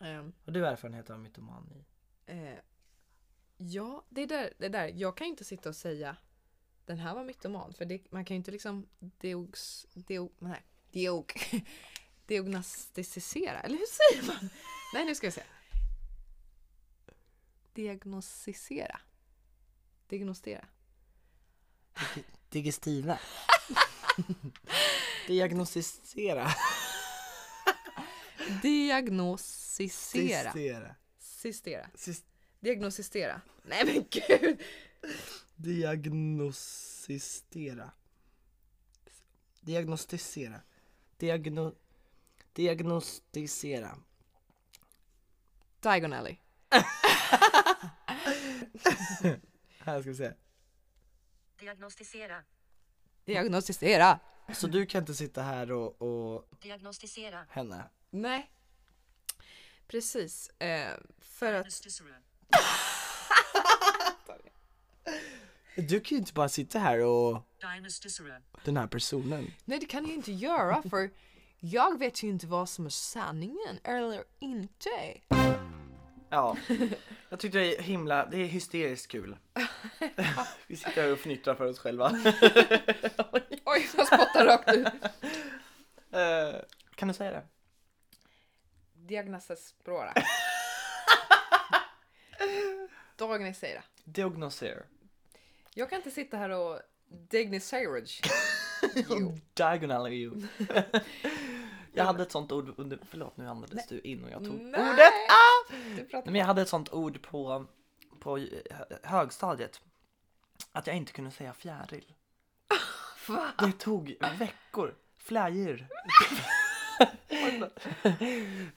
Ehm,
Har du erfarenhet av mytomani?
Eh, ja, det är där, det är där. Jag kan ju inte sitta och säga den här var mytoman. För det, man kan ju inte liksom deogs, deog, nej, deog, deognostisera. Eller hur säger man? Nej, nu ska jag se. diagnostisera. Diagnostera.
Digestiva. Diagnostisera.
Diagnostisera.
Sistera.
Sistera.
Sis-
Diagnostisera. Nej men gud!
Diagnostisera. Diagnostisera. Diagno... Diagnostisera.
Diagon Alley.
Här ska vi se.
Diagnostisera.
Diagnostisera.
Så du kan inte sitta här och, och
Diagnostisera.
henne?
Nej. Precis. Eh, för att...
Diagnostisera.
Du kan ju inte bara sitta här och
Diagnostisera.
den här personen.
Nej det kan jag ju inte göra för jag vet ju inte vad som är sanningen eller inte.
Ja, jag tyckte det är himla, det är hysteriskt kul. Vi sitter här och fnittrar för oss själva.
Oj, jag spottar rakt ut.
Eh, Kan du säga det?
Diagnostisera. Diagnostisera.
Diagnosera.
Jag kan inte sitta här och diagnostisera. Jo.
Diagonal är ju. Jag hade ett sånt ord under, förlåt nu andades du in och jag tog
Nej.
ordet. Ah!
Du pratar
Men jag hade ett sånt ord på, på hö- högstadiet. Att jag inte kunde säga fjäril. Det tog veckor. Fläjir.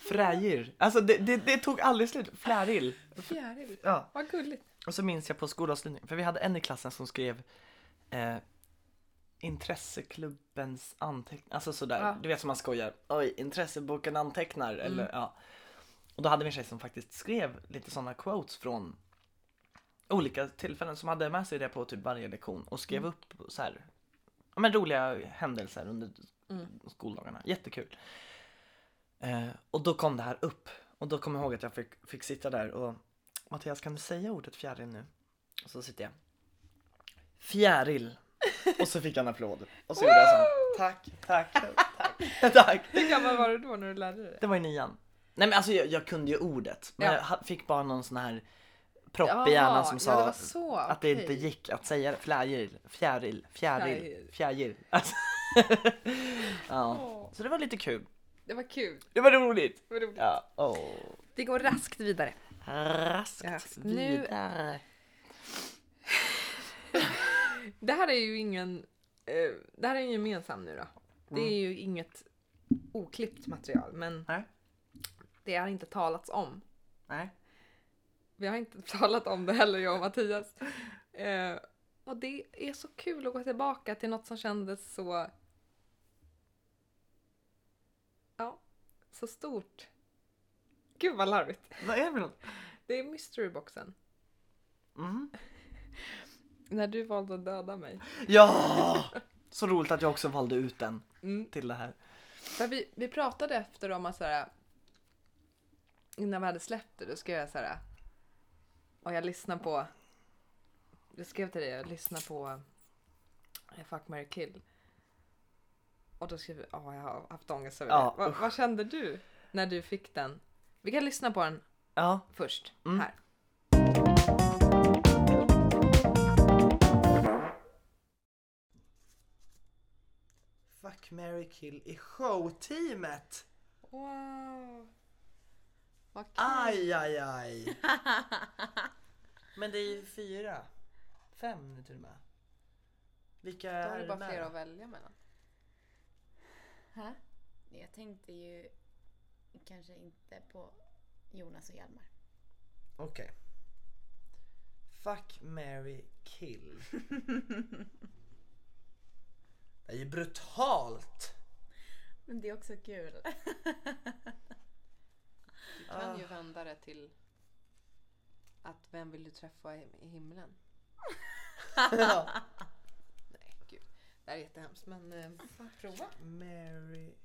Fräjir. Alltså det, det, det tog aldrig slut. Fläril.
fjäril.
Ja.
Vad gulligt.
Och så minns jag på skolavslutningen, för vi hade en i klassen som skrev eh, intresseklubbens anteckningar, alltså sådär,
Ja.
du vet som man skojar, oj intresseboken antecknar eller ja. Och då hade vi en tjej som faktiskt skrev lite sådana quotes från olika tillfällen som hade med sig det på typ varje lektion och skrev upp så här, ja, men roliga händelser under skoldagarna, jättekul. Eh, och då kom det här upp och då kommer jag ihåg att jag fick, fick sitta där och Mattias kan du säga ordet fjäril nu? Och så sitter jag. Fjäril. Och så fick jag en applåd. Och så gjorde jag så. här, Tack, tack, tack, tack.
Hur gammal var du då när du lärde dig det?
Det var i nian. Nej men alltså jag, jag kunde ju ordet. Men
Ja.
jag ha- fick bara någon sån här propp i hjärnan som
ja,
sa
det var så.
att det inte
Okej.
gick att säga det. Fläril, fjäril, fjäril,
Fjäril.
fjäril. Alltså. ja.
Åh,
Så det var lite kul.
Det var kul.
Det var roligt.
Det var roligt.
Ja. Åh.
Det går raskt vidare.
Raskt
Ja. Nu-
vidare.
Det här är ju ingen... Eh, det här är en gemensam nu då. Det är ju inget oklippt material men
Mm. Nej.
det har inte talats om.
Nej.
Vi har inte talat om det heller jag och Mattias. Eh, och det är så kul att gå tillbaka till något som kändes så... Ja, så stort. Gud vad larvigt.
Vad är det för något?
Det är mysteryboxen.
Mm.
När du valde att döda mig.
Ja! Så roligt att jag också valde ut den
Mm.
till det här.
För vi, vi pratade efter om att såhär... Innan vi hade släppt det, då skrev jag såhär... Och jag lyssnar på... Jag skrev till dig, jag lyssnar på... eh, Fuck, marry, kill. Och då skrev vi, ja jag har haft ångest över
Ja,
det. Vad-
usch.
vad kände du när du fick den? Vi kan lyssna på den
Ja,
först,
Mm.
här.
Fuck, marry, kill i showteamet.
Wow! Vad kul!
Aj, aj, aj. Men det är ju fyra. Fem nu till och med. Vilka
Då
är
har du
det
bara fler
med?
att välja mellan.
Jag tänkte ju kanske inte på Jonas och Hjalmar.
Okej. Fuck, marry, kill. det är ju brutalt.
Men det är också kul.
Du
Ah.
kan ju vända det till att vem vill du träffa i i himlen? Nej, gud. Det här är jättehemskt, men eh, prova.
Mary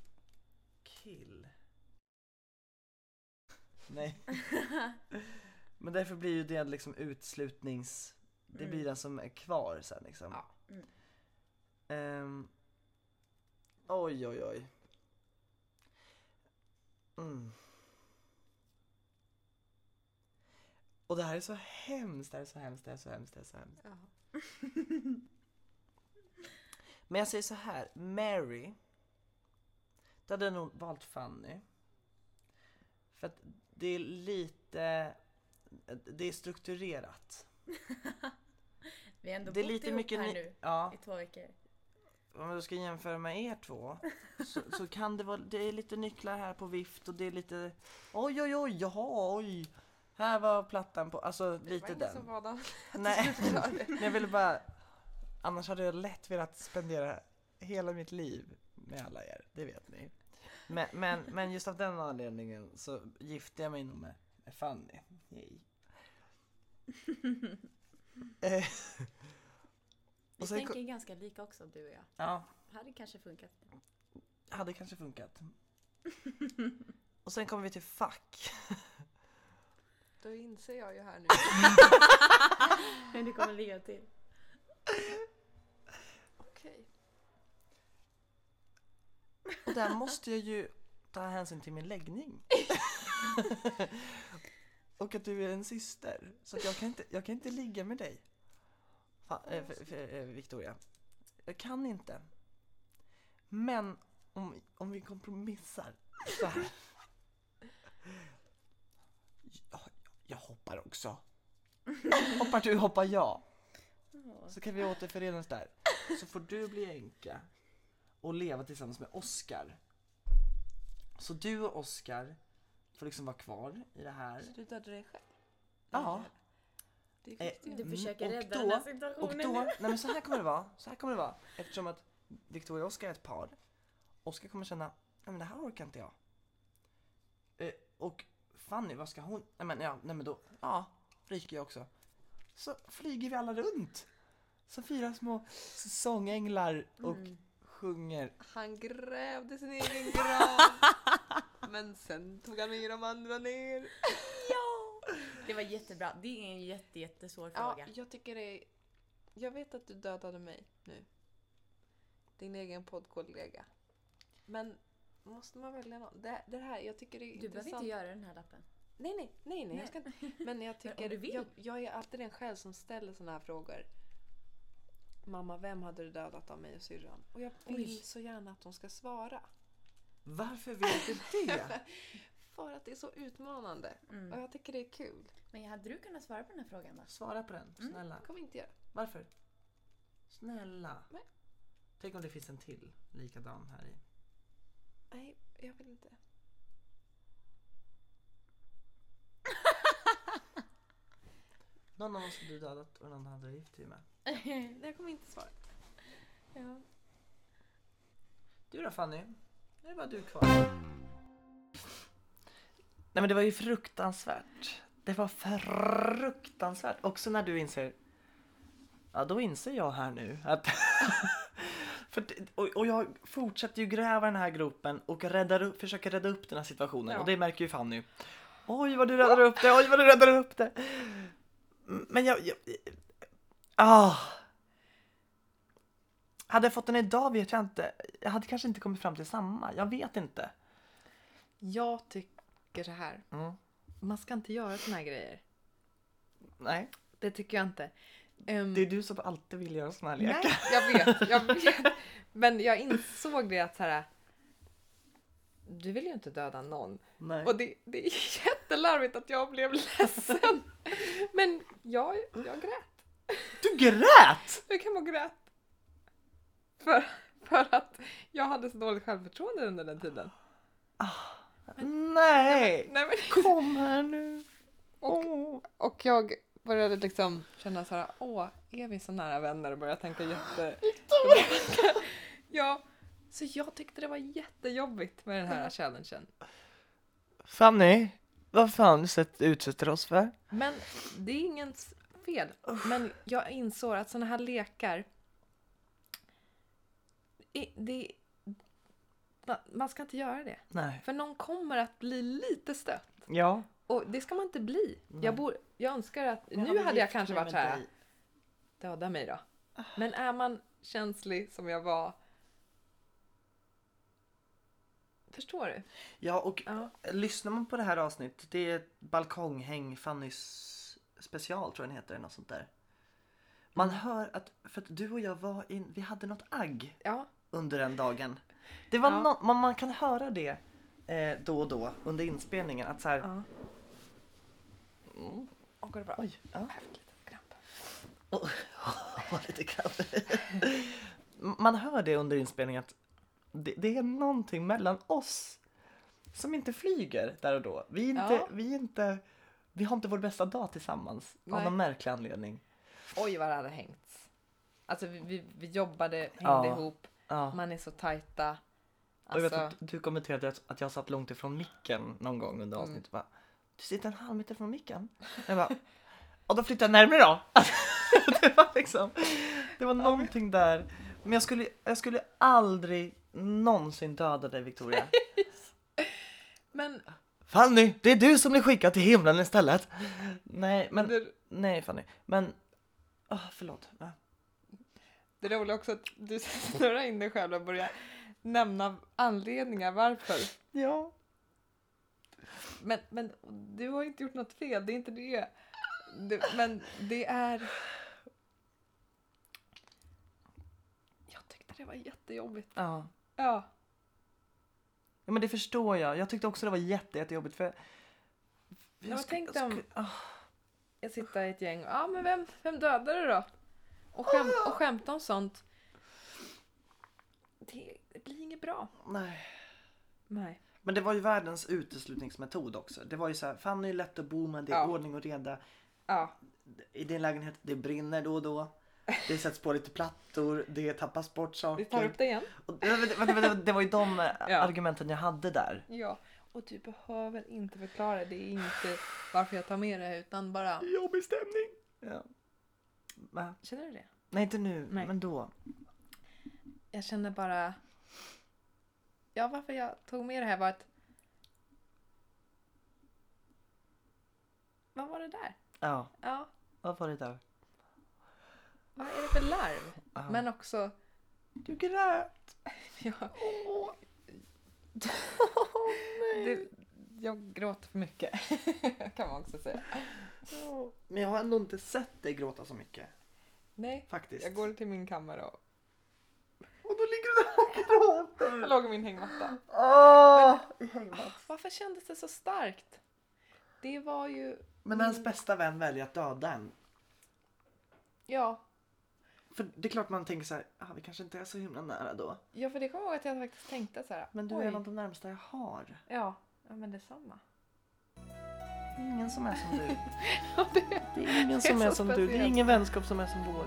Kill. Nej. Men därför blir ju det liksom utslutnings... Det blir den som är kvar sen liksom.
Ja.
Mm.
Ehm, oj, oj, oj. Mm.
Och det här är så hemskt, det här är så hemskt, det här är så hemskt, det här är så hemskt.
Ja.
Men jag säger så här, Mary. Då hade jag nog valt Fanny. För att det är lite, det är strukturerat.
Vi har ändå
Det är
bott
lite
ihop
mycket
här
ny-
nu
Ja,
i två veckor.
om jag ska jämföra med er två så, så kan det vara, det är lite nycklar här på vift och det är lite oj oj oj, jaha oj. Här var plattan på, alltså
Det var
lite
ingen
den.
som var där.
Nej, men jag ville bara... Annars hade jag lätt velat spendera hela mitt liv med alla er, det vet ni. Men, men, men just av den anledningen så gifte jag mig nog med, med Fanny. Yay. Eh,
Vi
Och sen
tänker ganska lika också du och jag.
ja,
Hade kanske funkat.
hade kanske funkat. Och sen kommer vi till fuck.
Då inser jag ju här nu.
Men det kommer ligga till.
Okej.
Och där måste jag ju ta hänsyn till min läggning. och att du är en syster. Så att jag, kan inte, jag kan inte ligga med dig. Fa, eh, f, f, eh, Victoria. Jag kan inte. Men om, om vi kompromissar så här. Jag, jag hoppar också. Hoppar du hoppar jag. Så kan vi återförenas där. Så får du bli änka och leva tillsammans med Oscar. Så du och Oscar får liksom vara kvar i det här.
Du dödade dig själv.
Ja.
Det är
Eh,
viktigt.
Du
Mm,
försöker
och
rädda
då-
den här
Och
situationen
då,
nu.
nej men så här kommer det vara, så här kommer det vara. Eftersom att Victoria och Oscar är ett par. Oscar kommer känna, nej men det här orkar inte jag. Eh, och Fanny, vad ska hon, nej men, ja, nej men då, ja, ryker jag också. Så flyger vi alla runt. Som fyra små säsongänglar och
Mm.
sjunger.
Han grävde sin egen grav. Men sen tog han med de andra ner.
Det var jättebra. Det är en jätte, jättesvår
Ja,
fråga.
jag tycker det är... Jag vet att du dödade mig nu. Din egen poddkollega. Men måste man välja någon? Det, det här, jag tycker det är
Du behöver
intressant.
inte göra den här lappen.
Nej, nej, nej, nej. Jag ska inte. Men jag tycker...
om du vill.
Jag, jag är alltid den själv som ställer såna här frågor. Mamma, vem hade du dödat av mig och syrran? Och jag vill
Oj.
så gärna att de ska svara.
Varför vet du det?
För att det är så utmanande.
Mm.
Och jag tycker det är kul.
Men hade du kunnat svara på den här frågan då?
Svara på den, snälla.
Det kommer inte göra.
Varför? Snälla.
Nej.
Tänk om det finns en till likadan här i.
Nej, jag vill inte.
Någon av oss hade du dödat och någon hade du gift dig med.
Nej, Jag kommer inte svara.
Ja.
Du då Fanny? Nu är bara du kvar. Nej men det var ju fruktansvärt. Det var fruktansvärt. Också när du inser. Ja då inser jag här nu att. För det, och, och jag fortsätter ju gräva den här gropen och räddar upp, försöker rädda upp den här situationen.
Ja.
Och det märker ju Fanny. Oj vad du räddar upp det, oj vad du räddar upp det. Men jag... jag ah. Hade jag fått den idag vet jag inte. Jag hade kanske inte kommit fram till samma. Jag vet inte.
Jag tycker så här.
Mm.
Man ska inte göra såna här grejer.
Nej,
Det tycker jag inte. Ehm,
det är du som alltid vill göra såna här lekar.
nej, jag vet, jag vet. Men jag insåg det att så här. Du vill ju inte döda någon.
Nej.
Och det, det är jättelarvigt att jag blev ledsen. Men jag, jag grät.
Du grät!
Hur kan man grät? För, för att jag hade så dåligt självförtroende under den tiden.
Nej!
Nej, men,
Kom här nu.
och,
Åh.
Och jag började liksom känna så här, åh, är vi så nära vänner? Och började tänka jätte... ja, så jag tyckte det var jättejobbigt med den här challengen.
Fanny, vad fan du utsätter oss för?
Men det är ingens fel. Men jag insåg att sådana här lekar, i- det, ma- man ska inte göra det.
Nej.
För någon kommer att bli lite stött.
Ja.
Och det ska man inte bli. Jag, bor, jag önskar att, nu
vill
hade jag
gifta
kanske
mig
varit så
med
här.
dig.
döda mig då. Men är man känslig som jag var... Förstår du?
Ja, och
Ja.
lyssnar man på det här avsnittet, det är ett balkonghäng, Fannys special tror jag den heter, eller något sånt där. Man
Mm.
hör att, för att du och jag var in, vi hade något agg
Ja,
under den dagen. Det var
Ja.
nå- man, man kan höra det eh, då och då under inspelningen att så här,
ja. Och går det bra? Ah,
oj, ja.
Jag fick lite kramp.
Och- Var lite kaffe. Man hör det under inspelningen att det, det är någonting mellan oss som inte flyger där och då. Vi, är inte,
Ja.
vi, är inte, vi har inte vår bästa dag tillsammans av
Nej.
någon märklig anledning.
Oj vad det hade hängts. Alltså vi, vi, vi jobbade, hängde
Ja.
ihop,
Ja.
man är så tajta.
Och jag vet
Alltså,
att du kommenterade att, att jag satt långt ifrån micken någon gång under
Mm.
avsnittet. Bara, du sitter en halv meter från micken. Jag bara, och då flyttar jag närmare då. det var liksom, det var någonting där. Men jag skulle, jag skulle aldrig någonsin döda dig Victoria.
men
Fanny, det är du som blir skickad till himlen istället. Nej, men
det,
nej Fanny, men åh, förlåt. Ja.
det roliga också att du snurrar in dig själv och börjar nämna anledningar varför.
Ja.
Men, men du har inte gjort något fel, det är inte det. Du, men det är... Jag tyckte det var jättejobbigt.
ja.
Ja,
Ja men det förstår jag. Jag tyckte också det var jätte, jättejobbigt för...
men tänk
jag
om- jag sitter i ett gäng och, ja men vem, vem dödade du då? Och, skäm, och skämta om sånt. Det, det blir inget bra.
Nej.
Nej.
Men det var ju världens uteslutningsmetod också. Det var ju så här, Fanny är lätt att bo med, det är
Ja.
ordning och reda.
Ja,
I din lägenhet, det brinner då och då. Det sätts på lite plattor, det tappas bort
vi
saker.
tar upp det igen.
Och, det, det, det, det, det var ju de eh,
Ja.
argumenten jag hade där.
Ja, och du behöver inte förklara. Det är inte varför jag tar med det utan bara...
Jobbig stämning. Ja. Men,
Känner du det?
nej inte nu,
Nej.
men då.
Jag känner bara... Ja, varför jag tog med det här var att... Vad var det där?
Ja,
Ja,
vad var det där?
vad är det för larv?
Ja.
Men också...
Du grät.
Ja. det, jag gråter för mycket, kan man också säga.
Ja. Men jag har ändå inte sett dig gråta så mycket.
Nej,
Faktiskt.
jag går till min kammare och
Och då ligger du där och gråter.
jag låg i min hängmatta.
Åh!
Varför kändes det så starkt? Det var ju...
Men när ens bästa vän väljer att döda en.
Ja,
För det är klart man tänker så här, ah, vi kanske inte är så himla nära då.
ja för det kommer jag ihåg att jag faktiskt tänkte så här.
Men du
oj,
är en av de närmsta jag har.
Ja, ja men detsamma.
Det är ingen som är som du.
Ja, det...
Det är Mm. ingen som
Det är
är
så
som du. Det är
speciellt.
ingen vänskap som är som vår.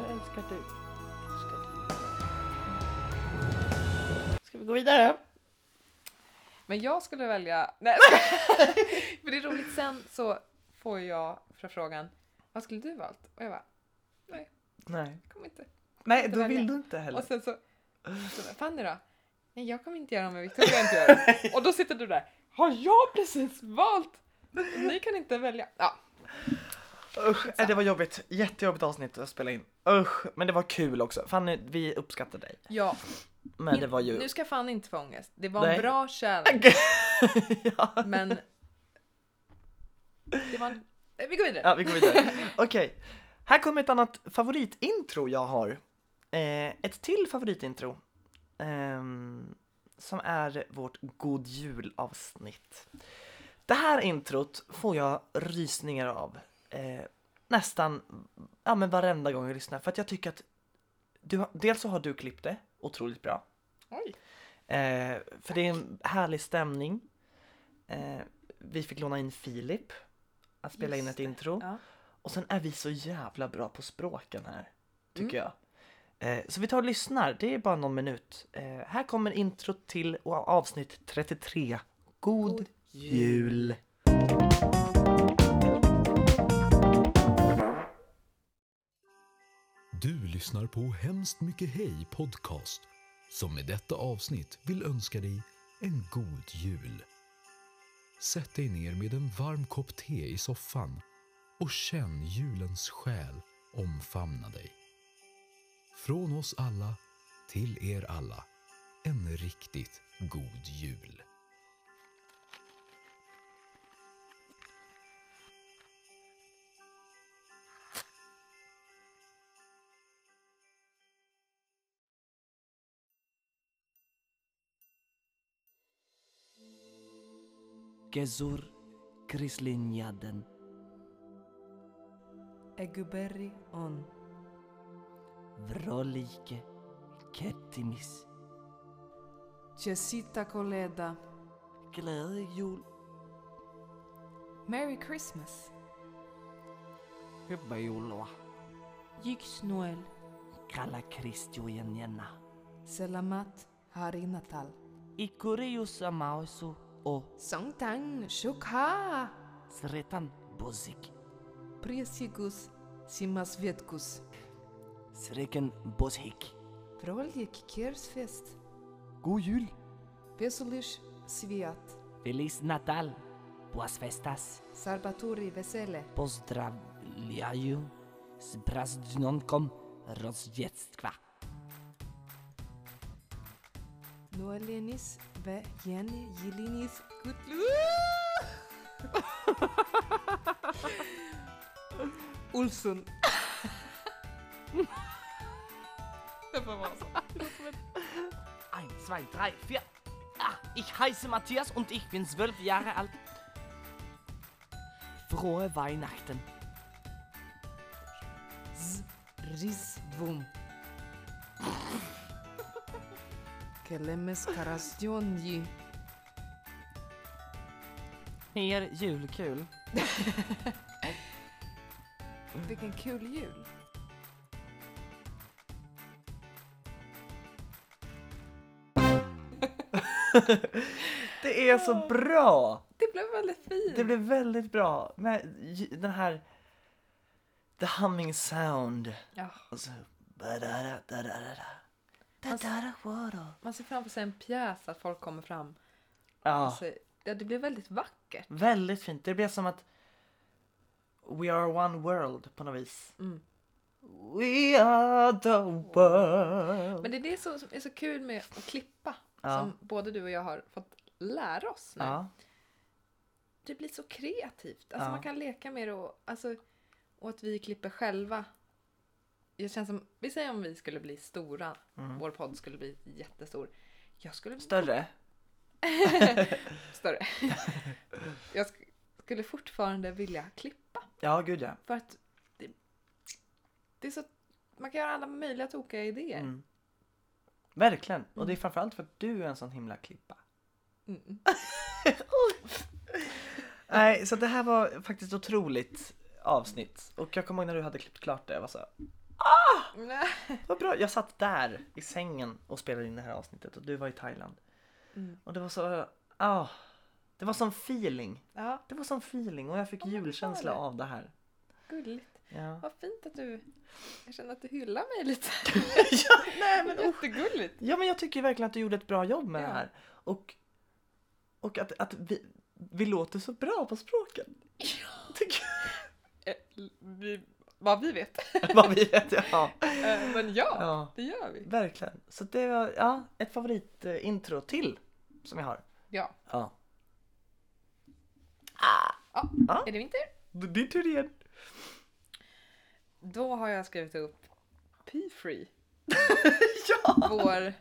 Jag älskar dig. Ska vi gå vidare?
Men jag skulle välja... Nej, för det är roligt, sen så får jag frågan vad skulle du valt? Och jag bara,
Nej.
jag kommer inte.
Nej,
Inte
då
välja.
vill du inte heller.
Och sen så, så bara, Fanny då? Nej, jag kommer inte göra om Victoria inte gör. Och då sitter du där, har jag precis valt? Ni kan inte välja. Ja,
Usch, nej, det var jobbigt. Jättejobbigt avsnitt att spela in. Usch, men det var kul också. Fanny, vi uppskattar dig.
ja.
Men det var ju...
Nu ska fan inte få ångest. Det var
Nej.
en bra kärlek,
ja.
men... Det var en... Eh, Vi går vidare.
ja, vi går vidare. Okej, här kommer ett annat favoritintro jag har. Eh, ett till favoritintro. ehm, som är vårt God Jul avsnitt. Det här introt får jag rysningar av. Eh, nästan ja, men varenda gång jag lyssnar. För att jag tycker att du, har- dels så har du klippt det otroligt bra.
Oj.
Eh, för det är en härlig stämning. Eh, vi fick låna in Filip att spela in
Just
ett intro.
Ja.
Och sen är vi så jävla bra på språken här, tycker jag. Eh, så vi tar och lyssnar, det är bara någon minut. Eh, här kommer intro till och avsnitt 33. God, jul!
Du lyssnar på Hemskt Mycket Hej Podcast som med detta avsnitt vill önska dig en god jul. Sätt dig ner med en varm kopp te i soffan och känn julens själ omfamna dig. Från oss alla till er alla, en riktigt god jul.
Gezur Krislinjaden.
Eguberri on.
Vrolike Kettimis.
Jesita koleda.
Glade jul.
Merry Christmas.
Hyvää joulua.
Yks Noel.
Kalla Kristiojenjena.
Selamat Hari Natal.
Ikurius amausu o
Songtang Shukha.
Sretan Bozik.
Priesigus Simasvetkus.
Sreken Bozhik.
Vroljik Kirsfest.
God jul!
Veselish Sviat.
Feliz Natal! Buas festas!
Sarbaturi Vesele.
Pozdrawiaju z Brazdnonką Rozdziectwa.
Noelenis ve Jenny Jelinis Gutlu. Olsson. Det får vara så.
Ein, zwei, drei, vier. Ah, ich heiße Matthias und ich bin zwölf Jahre alt. Frohe Weihnachten.
Z Rizvum. Kelemes Karasjonji.
Mm. Mer julkul.
Vilken kul jul.
Det är så bra!
Det blev väldigt fint.
Det blev väldigt bra. Men j- den här... The humming sound. Alltså,
Ja.
Och så... badara, dadara, dadara, wada.
Man ser framför sig en pjäs att folk kommer fram.
Ja,
Alltså, ja, det blev väldigt vackert.
väldigt fint. Det blev som att... We are one world på något vis.
Mm.
We are the world.
Men det är det som är så kul med att klippa.
Ja.
Som både du och jag har fått lära oss nu.
Ja,
Det blir så kreativt. Alltså
Ja.
man kan leka med det och, alltså, och att vi klipper själva. Det känns som, vi säger om vi skulle bli stora.
Mm.
Vår podd skulle bli jättestor. Jag skulle
större.
större. jag sk- skulle fortfarande vilja klippa.
Ja, gud ja.
För att det, det är så, man kan göra alla möjliga tokiga idéer.
Mm. Verkligen. Och det är framförallt för att du är en sån himla klippa.
Mm.
Nej, så det här var faktiskt otroligt avsnitt. Och jag kommer ihåg när du hade klippt klart det. Jag var så här,
Nej.
Vad bra, jag satt där i sängen och spelade in det här avsnittet och du var i Thailand.
Mm.
Och det var så, ah, det var sån feeling.
Ja,
Det var sån feeling och jag fick
men det var
julkänsla
det.
av det här.
gulligt.
Ja.
Vad fint att du... Jag känner att du hyllar mig lite.
ja, nej, men,
Jättegulligt.
ja men jag tycker verkligen att du gjorde ett bra jobb med det
Ja.
här. Och, och att, att vi, vi låter så bra på språken. Tycker
Eh, Vi, vad vi vet.
jag. Vad vi vet, ja.
Eh, Men ja,
ja.
det gör vi.
Verkligen. Så det var ja, ett favoritintro till som jag har.
Ja.
Ja.
Ja,
Ja.
Är det vinter?
D- Din tur igen.
Då har jag skrivit upp P-Free,
ja!
vår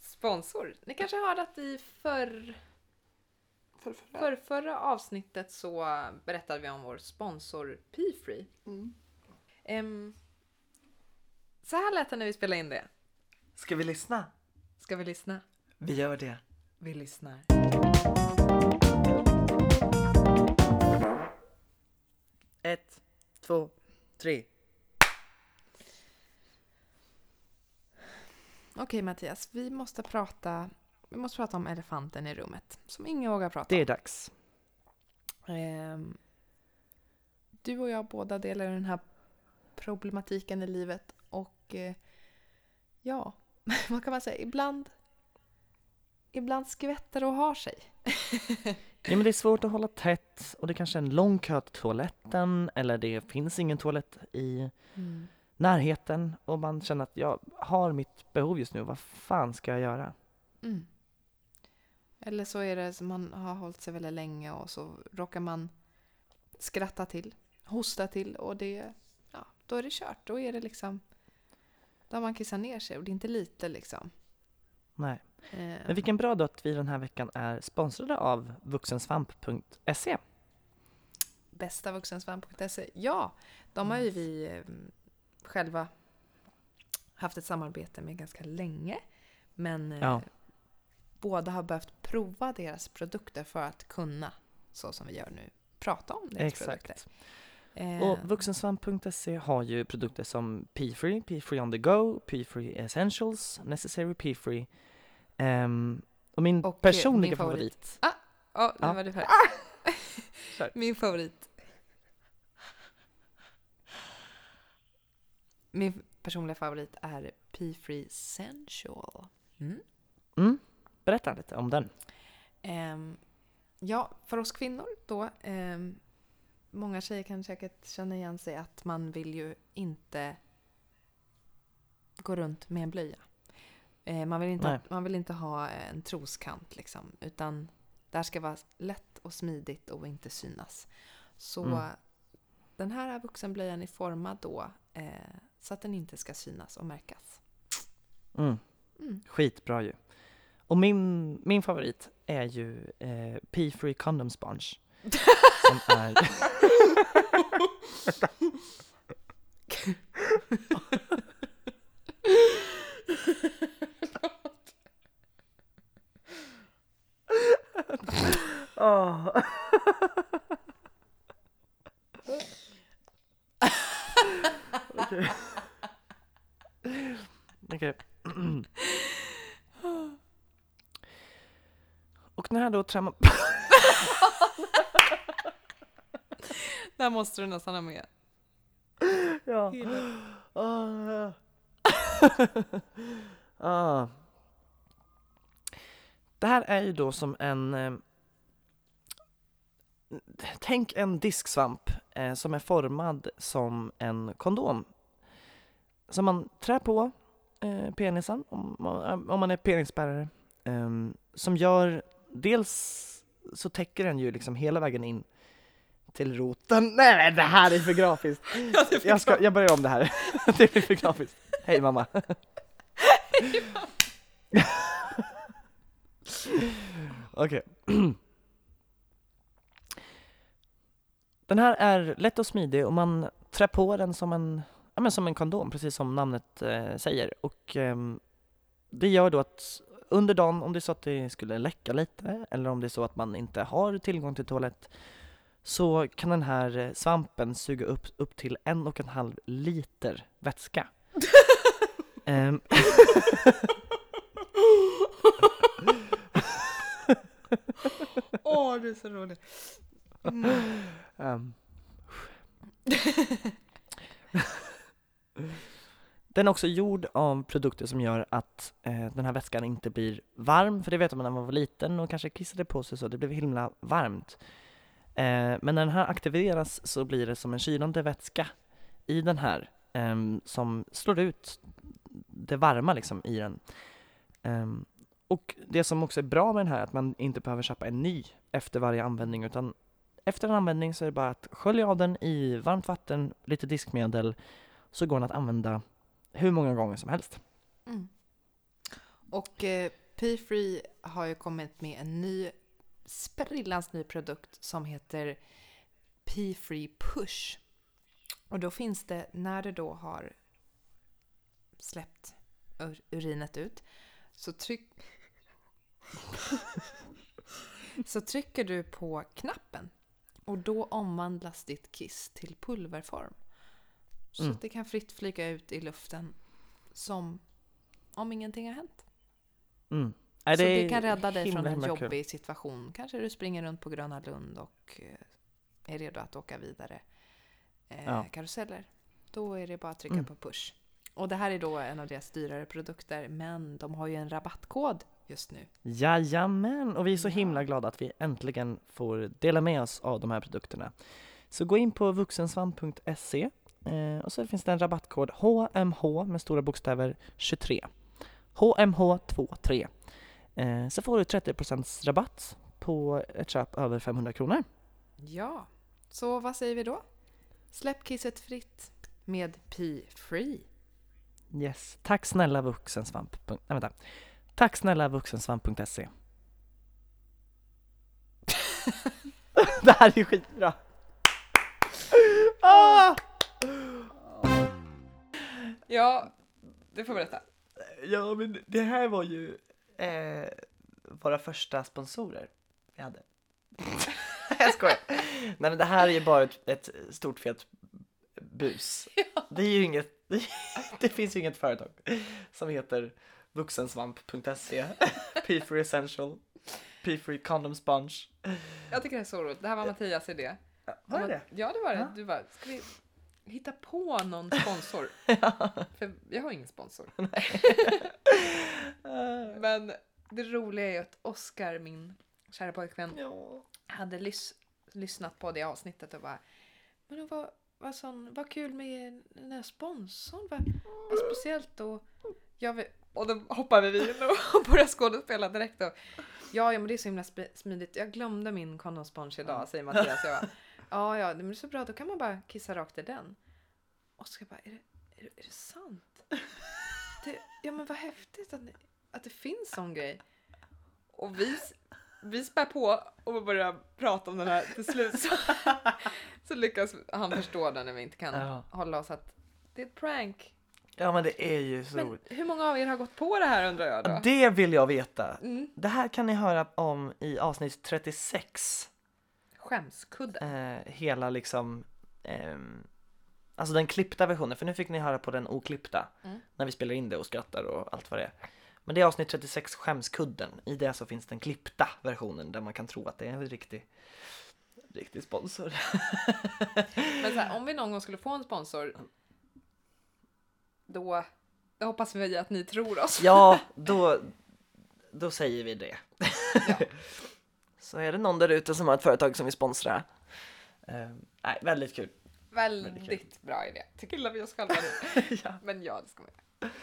sponsor. Ni kanske hörde att i förr,
För, för,
förr, förra avsnittet så berättade vi om vår sponsor P-Free. Ehm, så här lät det när vi spelade in det.
Ska vi lyssna?
Ska vi lyssna?
Vi gör det.
Vi lyssnar.
Ett, två, tre.
Okej Mattias, vi måste prata vi måste prata om elefanten i rummet, som ingen vågar prata
Det
om.
är dags.
Ehm, du och jag båda delar den här problematiken i livet och eh, ja, vad kan man säga? Ibland, ibland skvätter och har sig.
Ja, men det är svårt att hålla tätt och det kanske är en lång kö till toaletten eller det finns ingen toalett i Mm. närheten och man känner att jag har mitt behov just nu. Vad fan ska jag göra?
Mm. Eller så är det som man har hållit sig väldigt länge och så råkar man skratta till, hosta till och det, ja, då är det kört. Då är det liksom, då har man kissat ner sig och det är inte lite liksom.
Nej.
Eh,
Men vilken bra då att vi den här veckan är sponsrade av vuxensvamp.se.
bästavuxensvamp.se. E. Ja, de
Mm.
har ju vi eh, själva haft ett samarbete med ganska länge. Men eh,
Ja.
båda har behövt prova deras produkter för att kunna, så som vi gör nu, prata om deras produkter.
Exakt.
Eh,
Och vuxensvamp.se har ju produkter som P-free, P-free on the go, P-free essentials, necessary P-free. Ehm, och min
Och, eh,
personliga
min
favorit.
favorit. Ah, ja, nu
Ja. Ah!
var du färdig.
Kör.
Min favorit. Min personliga favorit är P-Free Sensual.
Mm, berätta lite om den.
Ehm, ja, för oss kvinnor då. ehm, många tjejer kan säkert känna igen sig att man vill ju inte gå runt med en blöja. Eh, man, vill inte,
Nej.
man vill inte ha en troskant liksom. Utan det här ska vara lätt och smidigt och inte synas. Så
Mm.
den här vuxenblöjan är formad då eh, så att den inte ska synas och märkas.
Mm.
Mm.
Skitbra ju. Och min, min favorit är ju eh, P-free condom sponge. som är... Åh. Okej. Okej. Och den här då trauma...
Där måste du nästan ha med.
Ja. Ah. ah. Det här är ju då som en... Eh, tänk en disksvamp eh, som är formad som en kondom. Som man trär på eh, penisen, om man, eh, om man är penisbärare. Eh, som gör... Dels så täcker den ju liksom hela vägen in till roten. Nej, nej, det här är för grafiskt! jag, ska, jag börjar om det här. det blir för grafiskt. Hej mamma. Okej. Den här är lätt och smidig och man trär på den som en, ja, men som en kondom, precis som namnet eh, säger. Och ehm, det gör då att under dagen, om det är så att det skulle läcka lite, eller om det är så att man inte har tillgång till toalett, så kan den här eh, svampen suga upp, upp till en och en halv liter vätska. Ehm.
Åh, du är så rolig.
Ehm. den är också gjord av produkter som gör att eh, den här vätskan inte blir varm, för det vet man när man var liten och kanske kissade på sig så, det blev himla varmt. Eh, men när den här aktiveras så blir det som en kylande vätska i den här ehm, som slår ut det varma liksom i den. Ehm, och det som också är bra med den här är att man inte behöver köpa en ny efter varje användning utan efter en användning så är det bara att skölja av den i varmt vatten, lite diskmedel, så går den att använda hur många gånger som helst.
Mm. Och eh, P-Free har ju kommit med en ny sprillans ny produkt som heter P-Free Push. Och då finns det, när det då har släppt ur- urinet ut, så tryck... så trycker du på knappen och då omvandlas ditt kiss till pulverform. Så
Mm.
att det kan fritt flyga ut i luften som om ingenting har hänt.
Mm. Nej,
så
är
det kan rädda dig
himla,
från en
himla kul.
jobbig situation. Kanske du springer runt på Gröna Lund och eh, är redo att åka vidare eh,
Ja.
karuseller. Då är det bara att trycka
Mm.
på push. Och det här är då en av deras dyrare produkter, men de har ju en rabattkod just nu.
Jajamän! Och vi är så himla glada att vi äntligen får dela med oss av de här produkterna. Så gå in på vuxensvamp.se eh, och så finns det en rabattkod HMH med stora bokstäver 23. HMH23. Eh, så får du 30% rabatt på ett köp över 500 kronor.
Ja, så vad säger vi då? Släpp kisset fritt med P-Free.
Yes. Tack snälla vuxensvamp. punkt- Nej, vänta. Tack snälla vuxensvamp.se. det här är skitbra! Ah!
Ja, du får berätta.
Ja, men det här var ju eh, våra första sponsorer vi hade. jag skojar. Nej, men det här är ju bara ett, ett stort fet bus. Det är ju inget, det finns ju inget företag som heter vuxensvamp.se, P4 Essential, P4 Condom Sponge.
Jag tycker det är så roligt. Det här var Mattias idé.
Vad är
Ja,
det?
men- Ja, det var det.
Ja.
Du bara, ska vi hitta på någon sponsor? För jag har ingen sponsor. Men det roliga är ju att Oskar, min kära pojkvän, hade lys- lyssnat på det avsnittet och bara Men vad, vad, sån, vad kul med den här sponsorn. Vad, vad speciellt och jag vill, Och då hoppar vi in och börjar skådespela direkt. Och, ja, ja, men det är så himla sp- smidigt. Jag glömde min kondomsponge idag, säger Mattias. Jag bara, ja, ja, men det är så bra. Då kan man bara kissa rakt i den. Och så jag bara, är det, är det, är det sant? Det, ja, men vad häftigt att, ni, att det finns sån grej. Och vi, vi spär på och börjar prata om den här till slut. Så, så lyckas han förstå den när vi inte kan
Ja.
hålla oss att det är ett prank.
Ja, men det är ju så
Men
roligt.
hur många av er har gått på det här undrar jag då?
Det vill jag veta.
Mm.
Det här kan ni höra om i avsnitt 36.
Skämskudde.
eh, hela liksom, ehm, alltså den klippta versionen, för nu fick ni höra på den oklippta
Mm.
när vi spelar in det och skrattar och allt vad det är. Men det är avsnitt 36, Skämskudden. I det så finns den klippta versionen där man kan tro att det är en riktig, riktig sponsor.
Men så här, om vi någon gång skulle få en sponsor, då, då hoppas vi att ni tror oss.
Ja, då, då säger vi det. så är det någon där ute som har ett företag som vill sponsra. Eh, nej, väldigt kul.
Väldigt bra idé. Tycker illa vi oss själva nu.
ja.
Men ja, det ska vi göra. Eh,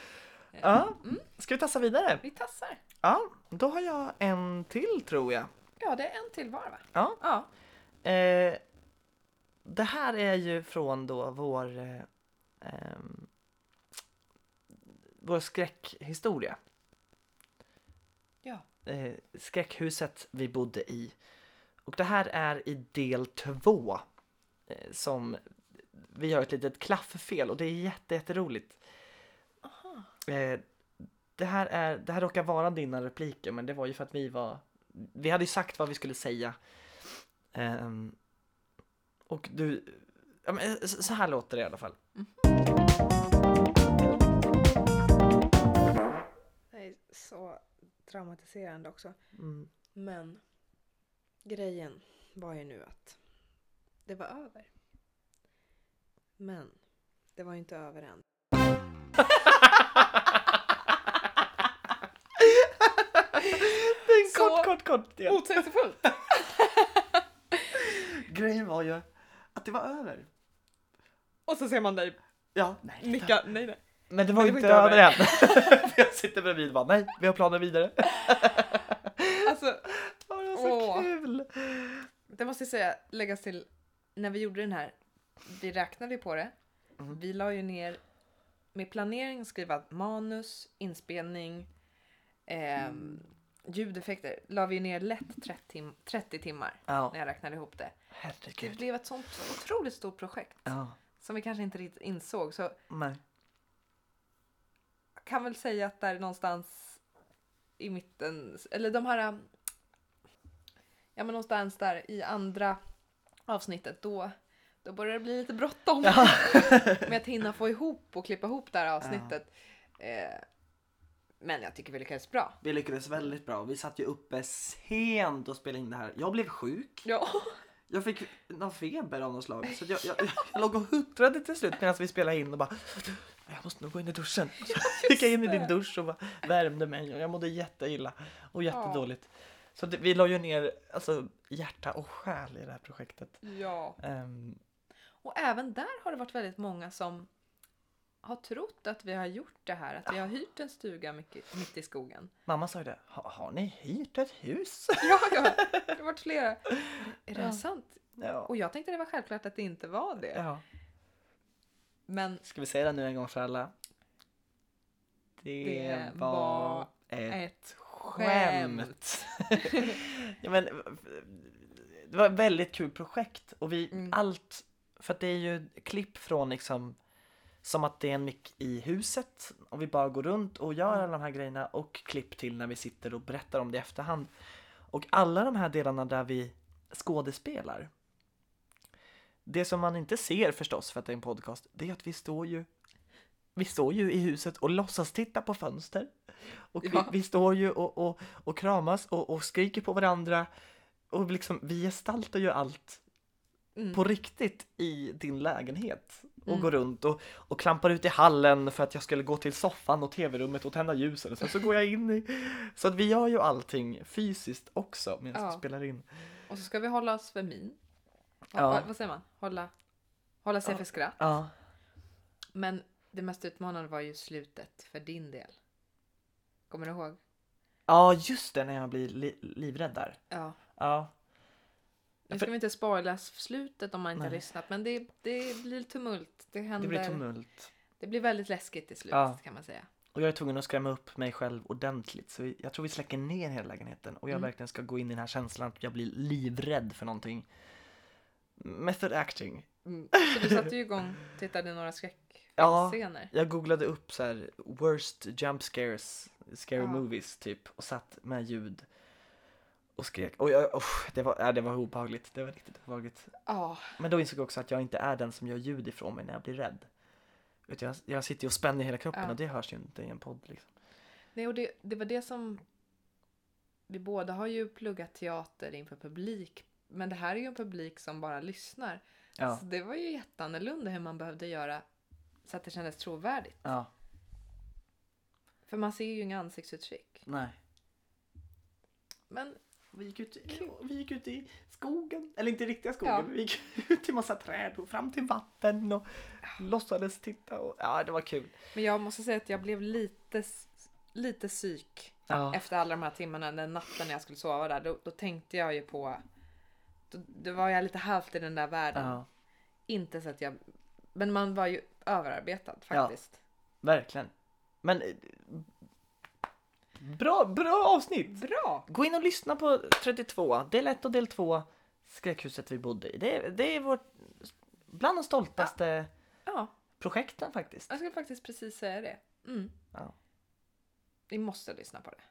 Ja, Mm. ska vi tassa vidare?
Vi tassar.
Ja, då har jag en till tror jag.
Ja, det är en till var va?
Ja.
Ja.
Eh, det här är ju från då vår, eh, ehm, vår skräckhistoria.
Ja.
Eh, skräckhuset vi bodde i. Och det här är i del två eh, som vi gör ett litet klafffel och det är jätte, jätteroligt. Eh, det, här är, det här råkar vara dina repliker men det var ju för att vi var, vi hade ju sagt vad vi skulle säga. Ehm, och du, ja, men, så så här låter det i alla fall.
Det är så traumatiserande också.
Mm.
Men grejen var ju nu att det var över. Men det var ju inte över än.
Den
Så-
kort, kort, kort del.
Motsägelsefullt!
Grejen var ju att det var över.
Och så ser man dig
Ja, nej, det var-
nicka. Nej, nej.
Men det var,
Men det
inte,
var inte
över än. För jag sitter bredvid och bara nej, vi har planer vidare.
Alltså,
Åh, det var så
Åh.
kul!
Det måste jag säga, läggas till, när vi gjorde den här, vi räknade ju på det. Vi la ju ner, med planering skriva manus, inspelning, ehm, ljudeffekter, la vi ner lätt 30, tim- 30 timmar
Ja,
när jag räknade ihop det. Det
herregud.
blev ett sånt otroligt stort projekt
Ja,
som vi kanske inte riktigt insåg. Så
nej.
jag kan väl säga att där någonstans i mitten, eller de här, ähm, ja men någonstans där i andra avsnittet då, då börjar det bli lite bråttom med att hinna få ihop och klippa ihop det här avsnittet. Eh, men jag tycker vi lyckades bra.
Vi lyckades väldigt bra. Vi satt ju uppe sent och spelade in det här. Jag blev sjuk.
Ja,
Jag fick någon feber av något slag. Så att jag, jag, jag låg och huttrade till slut medan vi spelade in och bara Jag måste nog gå in i duschen. Så gick jag in i din dusch och bara värmde mig och jag mådde jätteilla och jättedåligt. Så det, vi la ju ner alltså, hjärta och själ i det här projektet.
ja.
Ehm,
Och även där har det varit väldigt många som har trott att vi har gjort det här, att vi har hyrt en stuga mycket, mitt i skogen.
mamma sa ju det, "Ha- har ni hyrt ett hus?
Ja, ja, det har varit flera. Är det här
Ja.
sant?
Ja.
Och jag tänkte det var självklart att det inte var det.
ja.
Men
Ska vi säga det nu en gång för alla? Det,
Det
var
var
Eh,
Ett skämt.
ja, men, det var ett väldigt kul projekt och vi, allt, för att det är ju klipp från liksom som att det är en mick i huset och vi bara går runt och gör alla de här grejerna och klipp till när vi sitter och berättar om det i efterhand. Och alla de här delarna där vi skådespelar. Det som man inte ser förstås för att det är en podcast, det är att vi står ju vi står ju i huset och låtsas titta på fönster. Och
Ja.
vi, vi står ju och, och, och kramas och, och skriker på varandra. Och liksom, vi gestaltar ju allt
Mm.
på riktigt i din lägenhet. Och
Mm.
går runt och, och klampar ut i hallen för att jag skulle gå till soffan och tv-rummet och tända ljusen. Och sen så går jag in i... Så att vi gör ju allting fysiskt också medan
Ja.
vi spelar in.
Och så ska vi hålla oss för min.
Ja.
Vad, vad säger man? Hålla, hålla sig
Ja.
för skratt.
Ja.
Men det mest utmanande var ju slutet för din del. Kommer du ihåg?
Ja, just det, när jag blir li- livrädd där.
Ja.
Ja.
Nu
För-
ska vi inte spoila slutet om man inte har
Nej.
lyssnat, men det, det blir tumult. Det händer.
Det blir tumult.
Det blir väldigt läskigt i slutet
Ja.
kan man säga.
Och jag är tvungen att skrämma upp mig själv ordentligt. Så vi- jag tror vi släcker ner hela lägenheten och jag
Mm.
verkligen ska gå in i den här känslan att jag blir livrädd för någonting. Method acting.
Så du satte ju igång och tittade några
Ja.
skräckscener.
Jag googlade upp så här worst jump scares, scary
Ja.
movies typ och satt med ljud och skrek. Och jag, oh, det, var, äh, det var obehagligt, det var riktigt obehagligt.
Ja.
Men då insåg jag också att jag inte är den som gör ljud ifrån mig när jag blir rädd. Utan jag, jag sitter ju och spänner hela kroppen
Ja.
och det hörs ju inte i en podd liksom.
Nej, och det, det var det som... Vi båda har ju pluggat teater inför publik, men det här är ju en publik som bara lyssnar.
Ja.
Så det var ju jätteannorlunda hur man behövde göra så att det kändes trovärdigt.
Ja,
För man ser ju inga ansiktsuttryck.
nej.
Men
Vi gick, ut, vi gick ut i skogen, eller inte riktiga skogen,
Ja.
men vi gick ut till massa träd och fram till vatten och låtsades titta och ja, det var kul.
Men jag måste säga att jag blev lite, lite psyk
Ja.
efter alla de här timmarna, den natten när jag skulle sova där. Då, då tänkte jag ju på... Då, då var jag lite halvt i den där världen.
Ja,
Inte så att jag... Men man var ju överarbetad faktiskt.
verkligen. Men eh, bra, bra avsnitt!
Bra!
Gå in och lyssna på 32, del 1 och del 2, skräckhuset vi bodde i. Det, är- det är vårt, bland de stoltaste
Ja,
projekten faktiskt.
jag skulle faktiskt precis säga det. Mm.
Ja.
Vi måste lyssna på det.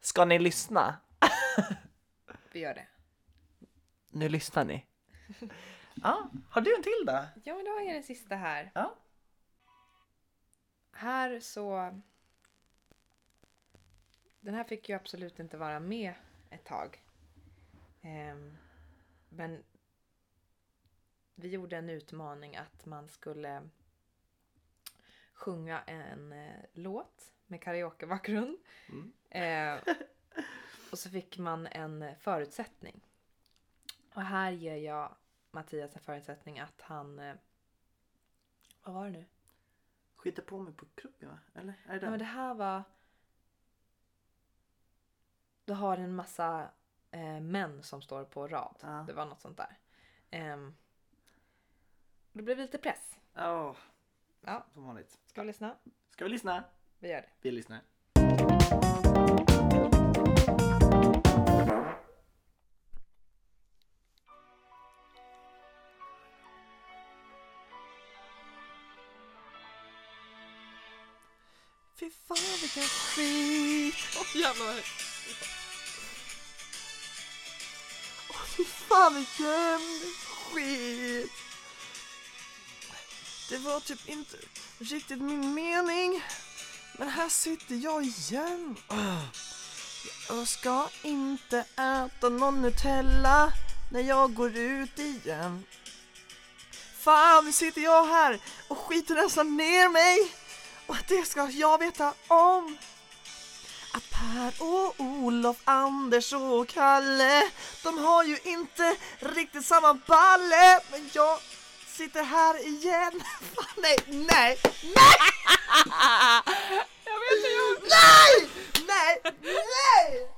Ska ni lyssna?
Vi gör det.
Nu lyssnar ni. Ja, har du en till då?
Ja, men då har jag den sista här.
Ja.
Här så... Den här fick ju absolut inte vara med ett tag. Ehm, men vi gjorde en utmaning att man skulle sjunga en eh, låt med karaokebakgrund.
Mm.
Eh, och så fick man en förutsättning. Och här ger jag Mattias en förutsättning att han... eh, Vad var det nu?
Skita på mig på krogen va? Eller? Är
Ja, men det här var... Du har en massa eh, män som står på rad.
Ja.
Det var något sånt där. Ehm, och det blev lite press.
Ja,
Ja,
som vanligt.
ska vi lyssna?
Ska vi lyssna?
Vi gör det.
Vi lyssnar.
Fy fan vilken skit! Åh jävlar vad högt. Åh fy fan vilken skit! Det var typ inte riktigt min mening. Men här sitter jag igen. Åh. Jag ska inte äta någon Nutella när jag går ut igen. Fan, nu sitter jag här och skiter nästan ner mig. Och det ska jag veta om. Att Per och Olof, Anders och Kalle, de har ju inte riktigt samma balle. Men jag sitter här igen. Fan, nej, nej, nej! Jag vet inte, jag... Nej, nej, nej!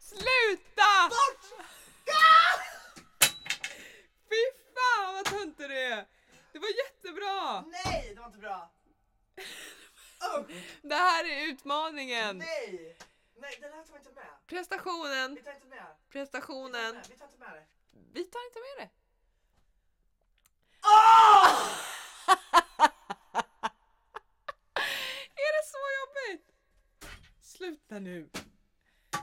Sluta! Bort! Fy fan vad töntig du är! Det var jättebra!
Nej, det var inte bra.
liksom, det här är utmaningen.
Nej! Nej, den här tar vi inte med.
Prestationen,
Vi tar inte med. Vi tar inte
prestationen.
med, vi tar inte med det.
Vi tar inte med det. är det så jobbigt? Sluta nu. Man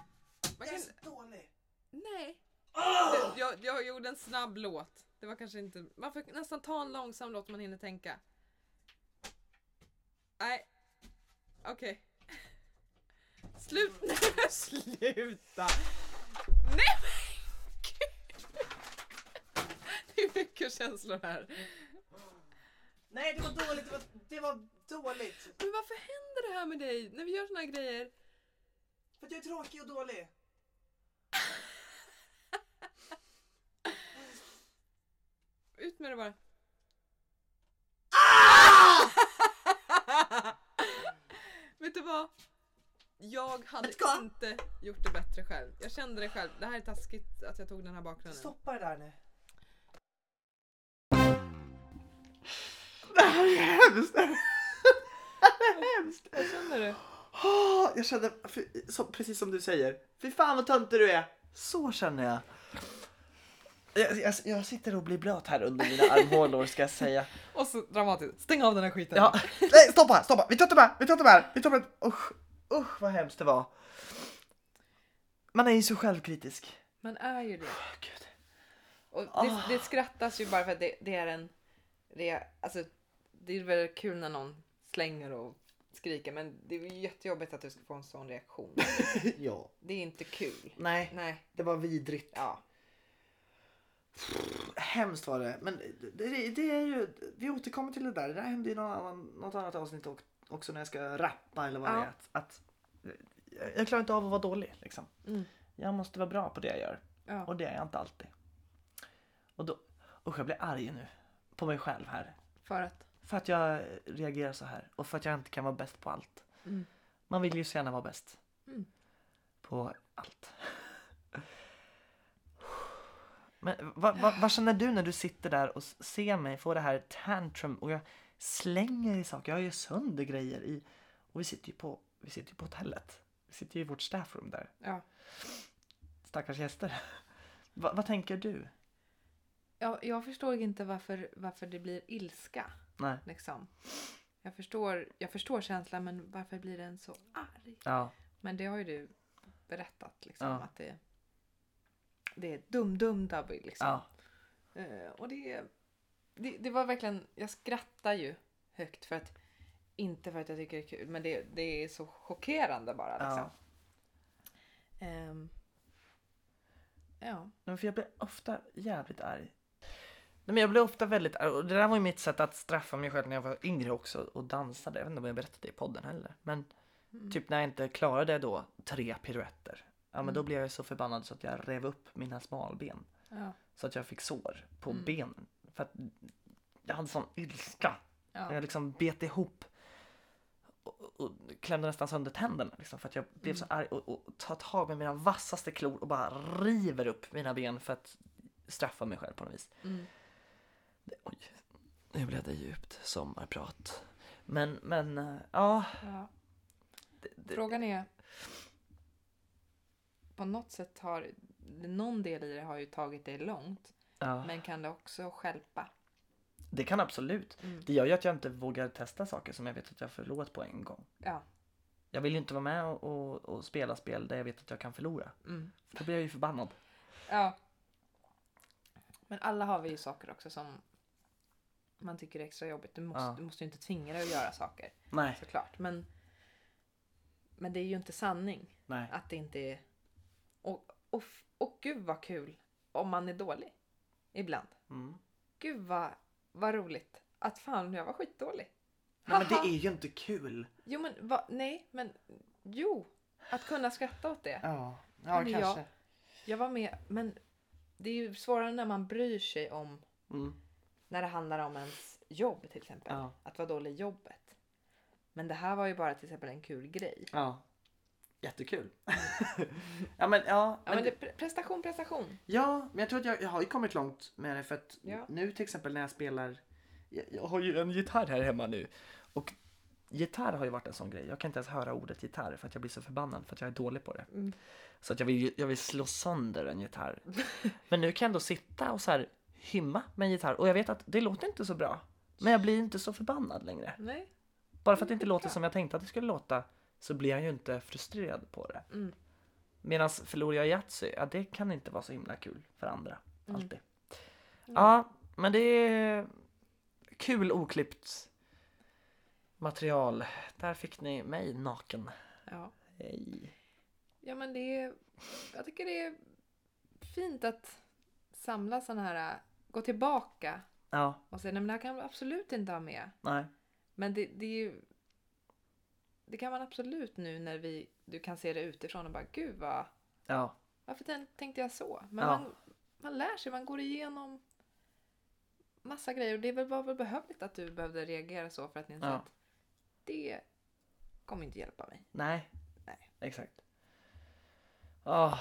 Jag
kan...
är så dålig. Ah!
Nej. Det- Jag, jag gjorde en snabb låt. Det var kanske inte... Man får nästan ta en långsam låt om man hinner tänka. Nej. Okej. Slut nu! Sluta! Nej men gud! Det är mycket känslor här.
Nej, det var dåligt. Det var, det var dåligt.
Men varför händer det här med dig när vi gör såna här grejer?
För att jag är tråkig och dålig.
Ut med det bara. Ah! Vet du vad? Jag hade inte gjort det bättre själv. Jag kände det själv. Det här är taskigt att jag tog den här bakgrunden.
Stoppa det där nu.
Det här är hemskt!
Hemskt!
Vad känner du?
Åh, Ah, jag känner, fy- som- precis som du säger, fy fan vad töntig du är. Så känner jag. Jag, jag, jag sitter och blir blöt här under mina armhålor ska jag säga.
Och så dramatiskt. Stäng av den här skiten.
Ja. Nej, stoppa, stoppa, vi tar inte med, vi tar inte med, vi tar inte med. Usch, usch vad hemskt det var. Man är ju så självkritisk.
Man är ju det.
Åh, Gud.
Och det, det skrattas ju bara för att det, det är en... Det är, alltså, det är väl kul när någon slänger och skriker men det är ju jättejobbigt att du ska få en sån reaktion.
Ja.
Det är inte kul.
Nej,
Nej.
det var vidrigt.
Ja.
Hemskt var det. Men det, det, det är ju, vi återkommer till det där. Det där hände i någon annan, något annat avsnitt och- också när jag ska rappa eller vad det
Ja.
är. Att, att, jag- jag klarar inte av att vara dålig liksom.
Mm.
Jag måste vara bra på det jag gör.
Ja.
Och det är jag inte alltid. Och då, usch jag blir arg nu. På mig själv här.
För att?
För att jag reagerar så här. Och för att jag inte kan vara bäst på allt.
Mm.
Man vill ju så gärna vara bäst.
Mm.
På allt. Men vad, vad, vad känner du när du sitter där och s- ser mig få det här tantrum och jag slänger i saker, jag gör sönder grejer i... Och vi sitter ju på, vi sitter ju på hotellet. Vi sitter ju i vårt staffroom där.
Ja.
Stackars gäster. Va, vad tänker du?
Jag, jag förstår inte varför, varför det blir ilska.
Nej.
Liksom. Jag, förstår, jag förstår känslan men varför blir den så arg?
Ja.
Men det har ju du berättat. Liksom,
Ja.
att det, det är dum-dum-dubby. Liksom.
Ja.
Eh, och det, det, det var verkligen, jag skrattar ju högt för att, inte för att jag tycker det är kul, men det, det är så chockerande bara. Liksom.
ja.
Ehm, ja.
Men för jag blir ofta jävligt arg. Nej, men jag blir ofta väldigt arg och det där var ju mitt sätt att straffa mig själv när jag var yngre också och dansade. Jag vet inte om jag berättade det i podden heller. Men
mm,
typ när jag inte klarade då tre piruetter. Ja men då blev jag så förbannad så att jag rev upp mina smalben.
Ja.
Så att jag fick sår på benen. För att jag hade sån ilska.
Ja.
Jag liksom bet ihop och, och klämde nästan sönder tänderna liksom, för att jag blev så arg och, och tar tag med mina vassaste klor och bara river upp mina ben för att straffa mig själv på något vis.
Mm.
Det, oj, nu blev det djupt sommarprat. Men, men eh, ja,
ja.
det, det,
Frågan är... På något sätt har... Någon del i det har ju tagit dig långt.
ja,
Men kan det också skälpa?
det kan absolut.
Mm.
Det gör ju att jag inte vågar testa saker som jag vet att jag förlorat på en gång.
Ja.
Jag vill ju inte vara med och, och, och spela spel där jag vet att jag kan förlora.
Mm.
Då blir jag ju förbannad.
ja. Men alla har vi ju saker också som man tycker är extra jobbigt. Du måste,
Ja.
du måste ju inte tvinga dig att göra saker
Nej,
såklart. Men, men det är ju inte sanning
nej.
att det inte är... Och, och, f- och gud vad kul om man är dålig. Ibland.
Mm.
Gud vad, vad roligt. Att fan jag var skitdålig.
Nej men det
Haha.
är ju inte kul.
Jo men va, nej men jo. Att kunna skratta åt det.
Ja,
Men jag- kanske. Jag var med men det är ju svårare när man bryr sig om
Mm.
när det handlar om ens jobb till exempel.
Ja.
Att vara dålig i jobbet. Men det här var ju bara till exempel en kul grej.
Ja. Jättekul. ja, men, ja,
Ja,
men,
men det, pre- prestation, prestation.
ja, men jag tror att jag, jag har ju kommit långt med det för att
Ja.
nu till exempel när jag spelar. Jag, jag har ju en gitarr här hemma nu och gitarr har ju varit en sån grej. Jag kan inte ens höra ordet gitarr för att jag blir så förbannad för att jag är dålig på det.
Mm.
Så att jag vill, jag vill slå sönder en gitarr. Men nu kan jag ändå sitta och så här hymma med en gitarr och jag vet att det låter inte så bra. Men jag blir inte så förbannad längre.
Nej.
Bara för att det inte låter som jag tänkte att det skulle låta så blir jag ju inte frustrerad på det.
Mm.
Medan förlorar jag Yatzy, ja det kan inte vara så himla kul för andra. Alltid. Ja, men det är kul oklippt material. Där fick ni mig naken.
Ja.
Hej.
ja, men det är... Jag tycker det är fint att samla sådana här... Gå tillbaka
Ja,
och säga nej men det här kan man absolut inte ha med.
nej.
Men det, det är ju... Det kan man absolut nu när vi, du kan se det utifrån och bara gud vad,
Ja,
varför tän- tänkte jag så? Men
Ja.
man, man lär sig, man går igenom massa grejer och det var väl behövligt att du behövde reagera så för att ni
Ja.
att det kommer inte hjälpa mig.
nej.
Nej.
Exakt. Oh.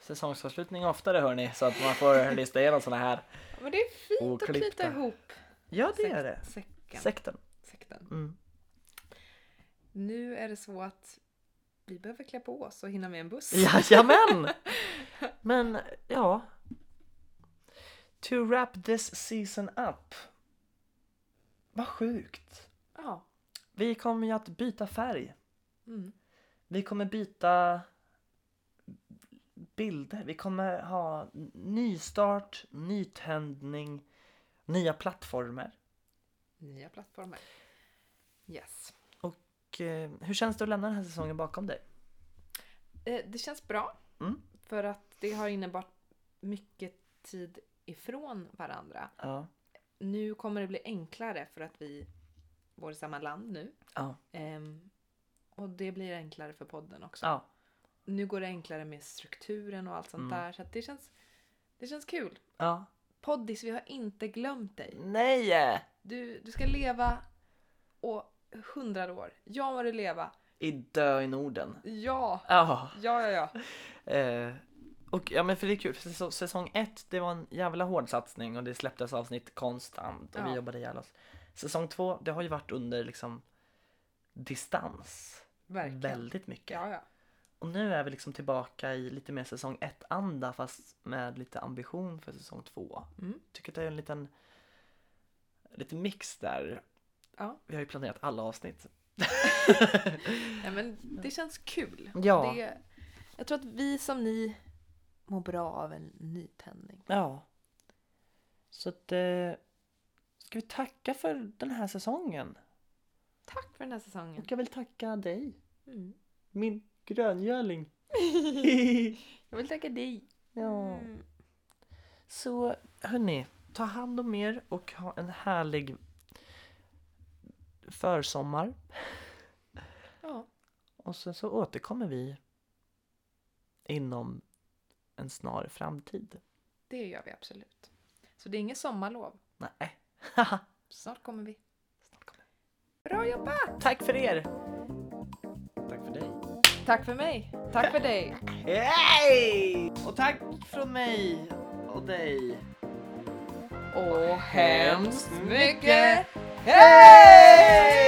Säsongsavslutning oftare hörni så att man får lista igenom såna här.
Ja, Men det är fint att
Oklippta.
knyta ihop
Ja det
sekt-
är det.
säcken.
Sekten.
sekten.
Mm.
Nu är det så att vi behöver klä på oss och hinna med en buss.
Jajamän! Men ja. To wrap this season up. Vad sjukt.
Ja.
Vi kommer ju att byta färg.
Mm.
Vi kommer byta bilder. Vi kommer ha nystart, nytändning, nya plattformar.
Nya plattformar. Yes.
Och, eh, hur känns det att lämna den här säsongen bakom dig?
Eh, Det känns bra.
Mm.
För att det har innebärt mycket tid ifrån varandra.
Ja.
Nu kommer det bli enklare för att vi bor i samma land nu.
Ja.
Ehm, och det blir enklare för podden också.
ja.
Nu går det enklare med strukturen och allt sånt
Mm.
där. Så att det, känns, det känns kul.
Ja.
Poddis, vi har inte glömt dig.
Nej!
Du, du ska leva och hundrade år. Ja må du leva.
I Dö i Norden.
Ja,
Ja.
ja, ja, ja.
Eh, och ja men för det är kul, för säs- säsong ett det var en jävla hård satsning och det släpptes avsnitt konstant och vi
Ja.
jobbade ihjäl oss. Säsong två, det har ju varit under liksom distans.
Verkligen.
Väldigt mycket.
Ja, ja.
Och nu är vi liksom tillbaka i lite mer säsong ett anda fast med lite ambition för säsong två.
Mm.
Tycker att det är en liten, lite mix där.
Ja.
Vi har ju planerat alla avsnitt.
Nej, men det känns kul.
Ja.
Det, jag tror att vi som ni mår bra av en nytändning.
Ja. Så att, eh, ska vi tacka för den här säsongen?
Tack för den här säsongen.
Och jag vill tacka dig,
Mm.
min gröngöling.
Jag vill tacka dig.
ja.
Mm.
Så hörni, ta hand om er och ha en härlig försommar.
Ja.
Och sen så återkommer vi inom en snar framtid.
Det gör vi absolut. Så det är inget sommarlov.
Nej.
Snart kommer vi.
Snart kommer
Bra jobbat!
det. Tack för er! Tack för dig.
Tack för mig. Tack för dig.
Hej! Och tack från mig och dig.
Och hemskt mycket
Hej!